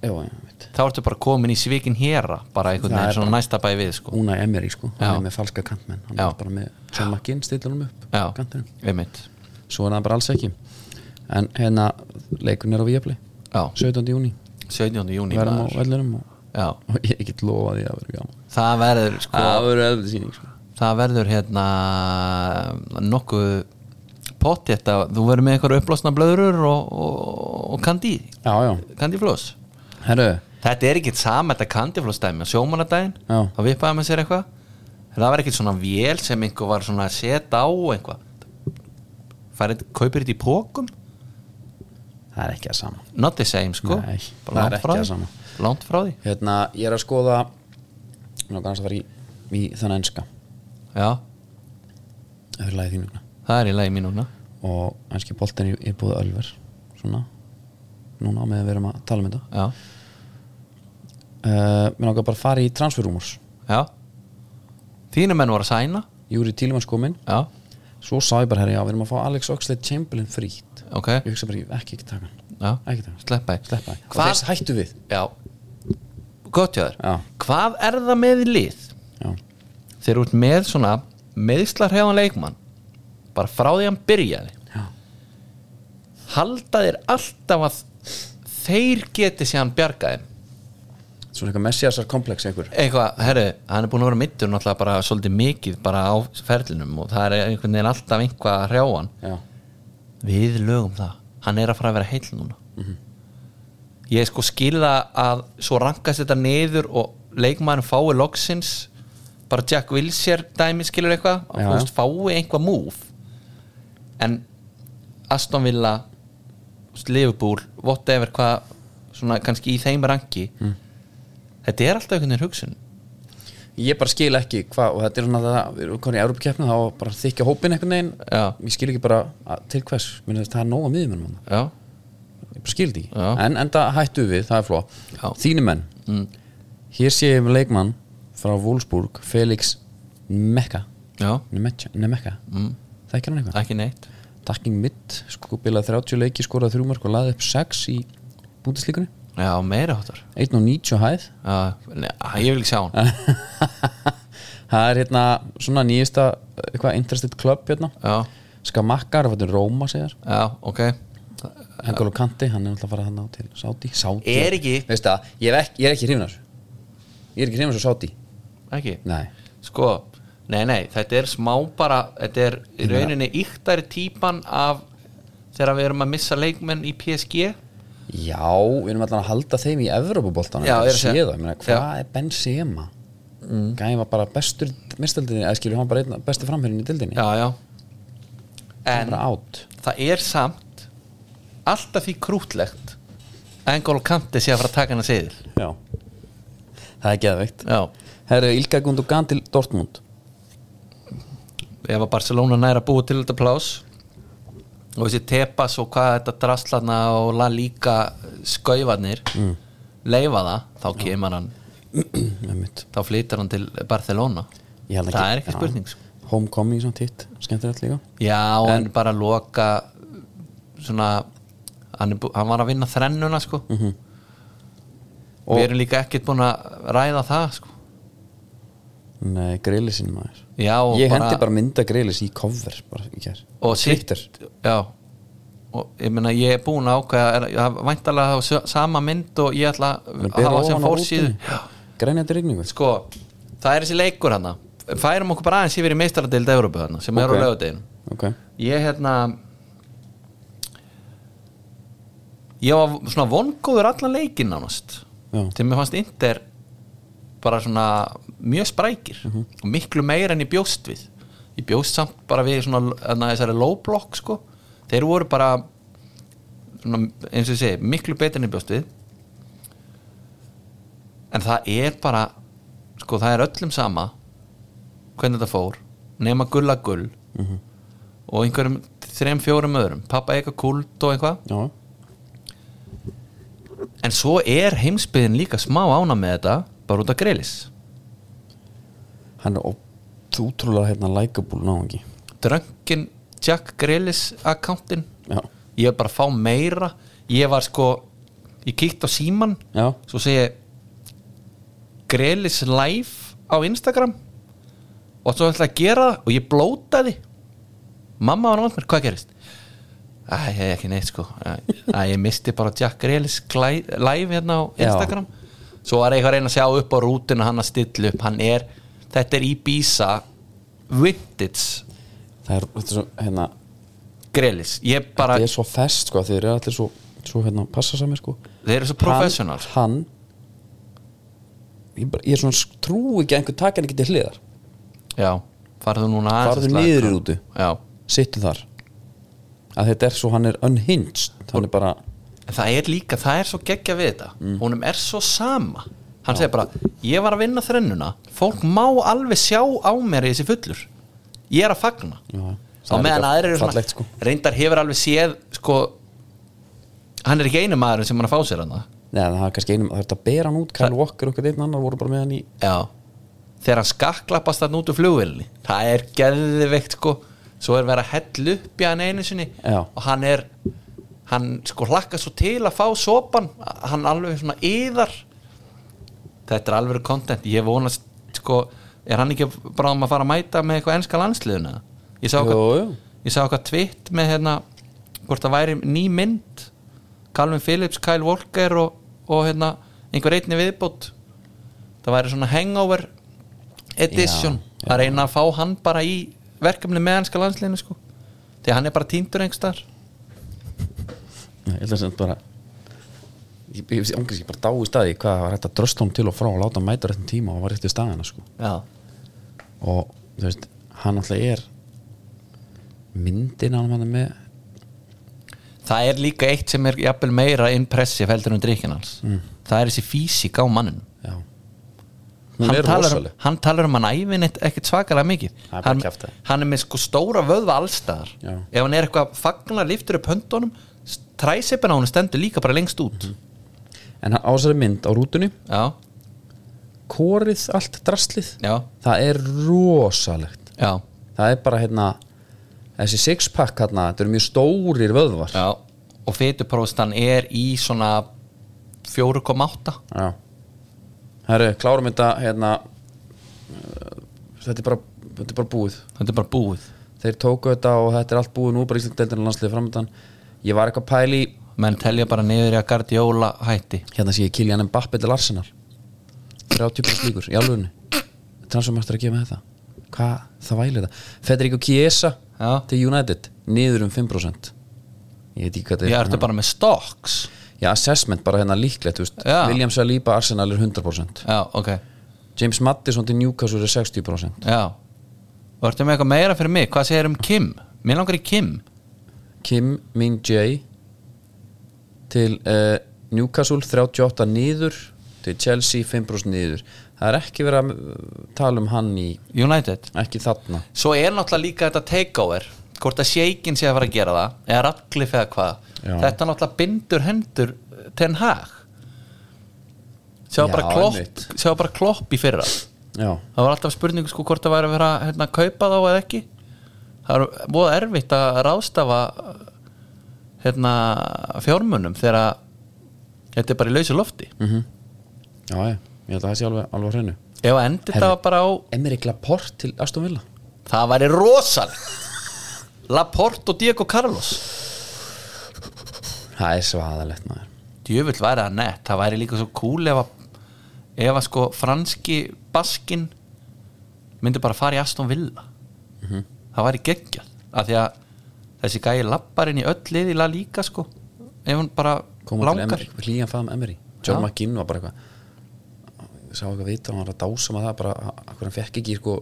Speaker 1: Jú ég veit.
Speaker 2: þá ertu bara komin í svikin héra bara einhvern
Speaker 1: Það er
Speaker 2: veginn svona næsta bæ við sko
Speaker 1: Una Emery sko, hann
Speaker 2: Já.
Speaker 1: er með falska kantmenn hann
Speaker 2: Já.
Speaker 1: er bara með John McGinn stillanum upp
Speaker 2: já,
Speaker 1: kantinum,
Speaker 2: einmitt
Speaker 1: svo er það bara alls ekki en hérna, leikun er á Viaplay
Speaker 2: Já.
Speaker 1: 17. júni,
Speaker 2: 17. júni
Speaker 1: verðum á vellinum og, [LAUGHS]
Speaker 2: já,
Speaker 1: og ég get lofa því að vera gaman
Speaker 2: það verður sko
Speaker 1: það verður öðvitað síning sko.
Speaker 2: það verður hérna nokkuð pottétt að þú verður með einhverja upplosna blöður og, og, og kandi
Speaker 1: já, já,
Speaker 2: kandiflós
Speaker 1: herru
Speaker 2: þetta er ekkert sama þetta kandiflós dæmi á sjómanadaginn,
Speaker 1: Já.
Speaker 2: þá vippaði með sér eitthvað En það var ekkert svona vél sem einhver var svona að setja á einhvað færið, kaupir þetta í pókum
Speaker 1: það er ekki að sama
Speaker 2: not the same sko
Speaker 1: Nei,
Speaker 2: Bara
Speaker 1: það er
Speaker 2: langt frá
Speaker 1: ekki
Speaker 2: því.
Speaker 1: það sama.
Speaker 2: langt frá því
Speaker 1: hérna, ég er að skoða ná, kannski að fara í, í þann enska
Speaker 2: já,
Speaker 1: öðru lagi þínu hérna.
Speaker 2: það er í lagi mín núna
Speaker 1: og enski boltin er, er búið ölver svona, núna á meðan við erum að tala um þetta
Speaker 2: já,
Speaker 1: uh, mér langar bara að fara í transferrúmurs
Speaker 2: já þínu menn voru að sæna
Speaker 1: Júri Tílimanns kominn,
Speaker 2: já,
Speaker 1: svo sá ég bara herri já, við erum að fá Alex Oxlade Chamberlain frýtt
Speaker 2: ok
Speaker 1: ég hugsa bara, ég- ekki ekki taka hann
Speaker 2: já.
Speaker 1: ekki taka hann,
Speaker 2: sleppa því.
Speaker 1: sleppa hann og
Speaker 2: hvað,
Speaker 1: þess hættu við
Speaker 2: já, gott hjá
Speaker 1: Já.
Speaker 2: þér hvað er það með í lið
Speaker 1: já,
Speaker 2: þeir eru út með svona meðslarhjáðan leikmann bara frá því hann byrjaði
Speaker 1: já,
Speaker 2: halda þér alltaf að þeir geti sér hann bjargaði
Speaker 1: svona eitthvað messiasar komplex einhver
Speaker 2: eitthvað, herru, hann er búin að vera mittur náttúrulega bara svolítið mikið bara á ferlinum og það er einhvern veginn alltaf einhvað að hrjá hann
Speaker 1: já,
Speaker 2: við lögum það hann er að fara að vera heill núna ég sko skila að svo rankast þetta niður og leikmann fái loksins bara Jack Wilshere dæmi skilur eitthvað
Speaker 1: Já,
Speaker 2: að þú
Speaker 1: já.
Speaker 2: veist, fái einhvað múf en Aston Villa Liverpool, whatever hvað svona kannski í þeim ranki þetta er alltaf einhvern veginn hugsun
Speaker 1: ég bara skil ekki hvað, og þetta er svona það, við erum konið í Európa-keppni þá bara þykja hópin einhvern veginn
Speaker 2: Já.
Speaker 1: ég skil ekki bara að, til hvers, Meni, það er nóga miðum en
Speaker 2: já,
Speaker 1: ég bara skil því,
Speaker 2: Já.
Speaker 1: en, en það hættu við það er fló,
Speaker 2: Já.
Speaker 1: þínu menn hér sé ég leikmann frá Wolfsburg, Felix Mekka
Speaker 2: já,
Speaker 1: Nemecca, Nemecca. þekkir hann eitthvað
Speaker 2: ekki neitt
Speaker 1: Takking mitt, sko bilað 30 leiki skorað 3 mark og laði upp 6 í búndislíkunni,
Speaker 2: já, meira hóttar
Speaker 1: 1 og 90 hæð
Speaker 2: ég vil ekki sjá hann
Speaker 1: [LAUGHS] það er hérna svona nýjasta eh, eitthvað interested club hérna
Speaker 2: já,
Speaker 1: Skamakkar, þetta er Róma segjar
Speaker 2: já, ok
Speaker 1: Hengol og Kanti, hann er alltaf að fara hann á til Sáti, Sáti
Speaker 2: Er ekki-
Speaker 1: Veistu það, ég er ekki, ég er ekki hrifin af þessu ég er ekki hrifin af þessu Sáti
Speaker 2: ekki
Speaker 1: nei,
Speaker 2: sko, nei nei, þetta er smá bara þetta er í rauninni yktari típan af þegar við erum að missa leikmenn í PSG
Speaker 1: já, við erum alltaf að halda þeim í Evrópuboltan,
Speaker 2: Já, ég er að segja-
Speaker 1: séða meina, hvað er Benzema mm. gæði var bara bestur mistaldinni, eða skilur hann bara einna, bestu framherrin í dildinni
Speaker 2: já, já
Speaker 1: Hann
Speaker 2: en
Speaker 1: bara átt
Speaker 2: það er samt alltaf því krútlegt að Engol Kanti sé að fara að taka hana seðil
Speaker 1: já. það er geðveikt
Speaker 2: já,
Speaker 1: herru, Ilka Gundogan til Dortmund
Speaker 2: ef að Barcelona næra búið til þetta plás og þessi tepas og hvað þetta drastlana og la líka skaufarnir mm. leifa það, þá kemur [CLEARS THROAT] hann
Speaker 1: Einmitt.
Speaker 2: þá flytar hann til Barcelona
Speaker 1: Ég held
Speaker 2: það er ekki spurning sko.
Speaker 1: já. homecoming, svona titt, skemmtilegt líka
Speaker 2: já, en, bara loka svona hann, er bú- hann var að vinna þrennuna sko.
Speaker 1: Mhm. Og-
Speaker 2: við erum líka ekkert búin að ræða það sko.
Speaker 1: nei, grillisinn maður
Speaker 2: já, og
Speaker 1: ég hendi bara mynda grillis í cover bara í kær
Speaker 2: og
Speaker 1: Twitter.
Speaker 2: sitt já, og ég meina ég er búin að ákveða það væntalega að hafa sö- sama mynd og ég ætla
Speaker 1: Hann
Speaker 2: að
Speaker 1: ber
Speaker 2: hafa
Speaker 1: ofan
Speaker 2: sem
Speaker 1: á
Speaker 2: fórsíðu
Speaker 1: rútunni. grænjandi rigningu
Speaker 2: sko, það er þessi leikur hann færum okkur bara aðeins yfir í meistaradeild Európu hann sem er á
Speaker 1: Ok.
Speaker 2: lögadeginu
Speaker 1: ok,
Speaker 2: ég hérna ég var svona vongóður allan leikinn nánast
Speaker 1: Já.
Speaker 2: til mér fannst Inter bara svona mjög sprækir og miklu meira en ég bjóst við ég bjóst samt bara við svona hana, þessari low block sko þeir voru bara svona, eins og ég segi, miklu betur en ég bjóst við en það er bara sko það er öllum sama hvernig þetta fór nema gulla gull og einhverjum þrem fjórum öðrum pappa eitthvað kult og eitthvað
Speaker 1: já,
Speaker 2: en svo er heimsbyðin líka smá ána með þetta bara út af greilis
Speaker 1: hann er ótt- útrúlega hérna likeable náðungi
Speaker 2: drönkin Jack Grealis akkántin
Speaker 1: Já.
Speaker 2: ég er bara að fá meira ég var sko, ég kíkt á síman
Speaker 1: Já.
Speaker 2: svo segi Grealis live á Instagram og svo ætla að gera það og ég blótaði mamma var nátt mér, hvað gerist? Æ, ég hef ekki neitt sko Æ, æ, ég misti bara Jack Grealis glæ- live hérna á
Speaker 1: Já.
Speaker 2: Instagram svo var eitthvað að reyna að sjá upp á rútuna hann að stilla upp, hann er þetta er Ibiza vintage
Speaker 1: það er, þetta er svo, hérna
Speaker 2: Grelis, ég bara,
Speaker 1: þetta er svo fest sko, þeir eru allir svo, svo hérna, passa saman sko
Speaker 2: þeir eru svo professional sko.
Speaker 1: hann, hann ég, bara, ég er svona sk- trúi ekki að einhver taka hann ekki til hliðar
Speaker 2: já, farðu núna aðeins
Speaker 1: farðu
Speaker 2: að slaka
Speaker 1: niður í
Speaker 2: á.
Speaker 1: rútu,
Speaker 2: já,
Speaker 1: sittu þar að þetta er svo, hann er unhinged hann er bara,
Speaker 2: en það er líka, það er svo geggja við þetta,
Speaker 1: Mm.
Speaker 2: honum er svo sama hann segir bara, ég var að vinna þrennuna fólk má alveg sjá á mér þessi fullur, ég er að fagna
Speaker 1: já,
Speaker 2: á
Speaker 1: það er
Speaker 2: meðan
Speaker 1: líka
Speaker 2: aðrir eru svona,
Speaker 1: fallegt, sko.
Speaker 2: reyndar hefur alveg séð sko, hann er ekki einu maðurinn sem hann að fá sér hann
Speaker 1: Neða, það er kannski einum, það er þetta að bera hann út Kyle
Speaker 2: Það-
Speaker 1: Walker og eitthvað einn annar voru bara með hann í
Speaker 2: Já Þegar hann skakklappast þann út úr flugvilni Það er geðveikt sko Svo er verið að hella upp í hann einu sinni
Speaker 1: Já.
Speaker 2: Og hann er Hann sko hlakka svo til að fá sopan Hann alveg svona yðar Þetta er alveg kontent Ég vonast sko Er hann ekki bráðum að fara að mæta með eitthvað enska landsliðuna Ég sá
Speaker 1: Jú,
Speaker 2: okkar,
Speaker 1: jú.
Speaker 2: ég sá okkar tvitt með hérna Hvort það væri ný mynd Calvin Phillips, Kyle Walker og, og hérna einhver einni viðbót það væri svona hangover edition
Speaker 1: Já,
Speaker 2: að reyna að fá hann bara í verkefni með hanska landsliðinu sko því hann er bara týndur einhverstaðar
Speaker 1: Nei, Ég held að sem bara Ég, ég, ég angriðs ég bara dá í staði hvað var hægt að drösta hann til og frá og láta hann mæta réttin tíma og var rétti staðina sko.
Speaker 2: já,
Speaker 1: og þú veist, hann alltaf er myndin hann hann er með
Speaker 2: það er líka eitt sem er jafnvel meira impressive heldur en drikkin hans
Speaker 1: Mm.
Speaker 2: það er þessi físík á manninu
Speaker 1: já. hún
Speaker 2: hann
Speaker 1: er
Speaker 2: talar, um,
Speaker 1: rosaleg
Speaker 2: hann talar um hann æfin ekkert svakalega mikið
Speaker 1: Það er bara
Speaker 2: hann,
Speaker 1: kjaftæði.
Speaker 2: hann er með sko stóra vöðva allstaðar
Speaker 1: Já.
Speaker 2: ef hann er eitthvað fagnar, liftur upp höndunum træsipin á hann stendur líka bara lengst út
Speaker 1: Mhm. en hann á þessari mynd á rútunni
Speaker 2: já,
Speaker 1: korið allt drastlið
Speaker 2: já,
Speaker 1: það er rosalegt
Speaker 2: já,
Speaker 1: það er bara hérna þessi sixpack hérna, þetta eru mjög stórir vöðvar
Speaker 2: já og fitupróstan er í svona 4,8
Speaker 1: Já Herru, klárum þetta hérna eh, Þetta er bara, þetta er bara búið
Speaker 2: þetta er bara búið
Speaker 1: Þeir tóku þetta og þetta er allt búið nú bara Íslandeldin og landsliði framöndan Ég var eitthvað pæli
Speaker 2: menn telja bara niður í að gardjóla hætti
Speaker 1: Hérna sé ég Kilian Mbappe til Arsenal 30% líkur, í alvöginni Transformastur að gefa með þetta Hvað, það væli þetta Federico Chiesa
Speaker 2: Já.
Speaker 1: til United Niður um 5% Ég veit ekki hvað
Speaker 2: ég
Speaker 1: þetta
Speaker 2: ertu bara með stocks
Speaker 1: Já, assessment bara hérna líklegt þú veist.
Speaker 2: Já.
Speaker 1: William Saliba, Arsenal er 100%
Speaker 2: já, ok,
Speaker 1: James Maddison til Newcastle er 60%
Speaker 2: já og ertu með eitthvað meira fyrir mig, hvað segir um Kim mér langar í Kim
Speaker 1: Kim Min Jae til uh, Newcastle 38 niður til Chelsea 5% niður það er ekki verið að uh, tala um hann í
Speaker 2: United
Speaker 1: ekki þarna
Speaker 2: svo er náttúrulega líka þetta takeover hvort að Sheikin sé að fara að gera það eða Radcliffe eða hvað
Speaker 1: Já.
Speaker 2: þetta náttúrulega bindur hendur eh, Ten Hag sjá
Speaker 1: Já,
Speaker 2: bara klopp
Speaker 1: einmitt.
Speaker 2: sjá bara klopp í fyrra
Speaker 1: já,
Speaker 2: það var alltaf spurningu sko hvort það væri að vera hérna, að kaupa þá eða ekki það er búið erfitt að ráðstafa hérna fjármunum þegar að þetta er bara í lausu lofti
Speaker 1: já, já, ég held að það sé alveg, alveg á hreinu
Speaker 2: ef að endi þetta
Speaker 1: Herri.
Speaker 2: bara á
Speaker 1: Emmerich Laporte til Aston Villa
Speaker 2: það væri rosal Laporte og Diego Carlos
Speaker 1: það er svaðalegt maður
Speaker 2: djöfull væri það nett, það væri líka svo cool ef að, ef að sko franski baskin myndi bara fara í Aston Villa
Speaker 1: Mhm.
Speaker 2: það væri geggjað af því að þessi gæi lappar inn í öll liðila líka sko ef hún bara
Speaker 1: koma til
Speaker 2: langar
Speaker 1: Emmerich, hlýjan faðum Emmerich John
Speaker 2: Já.
Speaker 1: McGinn var bara eitthvað ég sá eitthvað vita, hann var að dása maður það bara, akkur hann fekk ekki sko,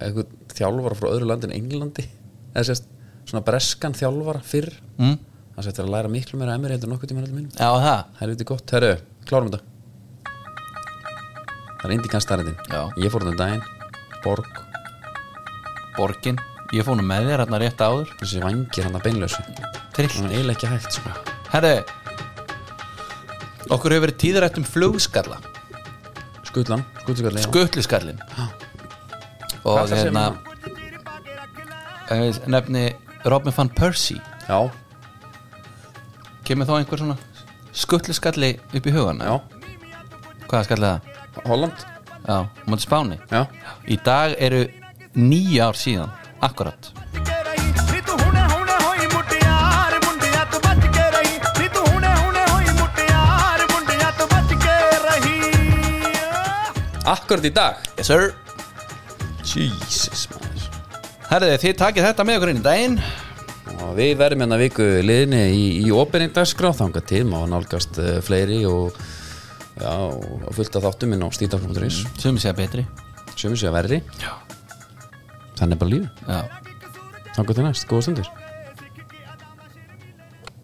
Speaker 1: eitthvað þjálfara frá öðru landi en Englandi eða sérst, svona breskan þjálfara fyrr
Speaker 2: mm?
Speaker 1: hann sætti að læra miklu meira Emmerich heldur en nokkuð tíma heldur minn
Speaker 2: já það,
Speaker 1: helviti gott, herru, klárum þetta það er indi kannst
Speaker 2: Já.
Speaker 1: starrendin ég fór þetta um daginn, borg
Speaker 2: borgin ég fór nú með þér hérna rétt áður
Speaker 1: þessi vangir hann að beinlösu
Speaker 2: Trill.
Speaker 1: hann er eiginlega ekki hægt sko.
Speaker 2: herri okkur hefur verið tíðrætt um flugskalla
Speaker 1: skutlan, skutlan
Speaker 2: skutluskallin og
Speaker 1: Hvað ætlar að segja
Speaker 2: hérna eh, nefni Robin van Persie
Speaker 1: Já,
Speaker 2: kemur þá einhver svona skutluskalli upp í hugan
Speaker 1: já,
Speaker 2: hvaða skallið það?
Speaker 1: Holland
Speaker 2: Já, mútið spáni
Speaker 1: Já,
Speaker 2: í dag eru nýja ár síðan akkurat
Speaker 1: akkurat í dag
Speaker 2: yes sir
Speaker 1: Jesus maður Mm.
Speaker 2: herðið þið takið þetta með okkur inn í daginn
Speaker 1: Og við verðum hérna viku liðinni í, í opinnindagsgrá þanga til má nálgast uh, fleiri og já, og fullt að þáttum inn á stíta.is mm.
Speaker 2: sumi segja betri
Speaker 1: sem við séu að verri
Speaker 2: Já.
Speaker 1: Þannig er bara lífið
Speaker 2: Já.
Speaker 1: Þanga til næst, góða stundir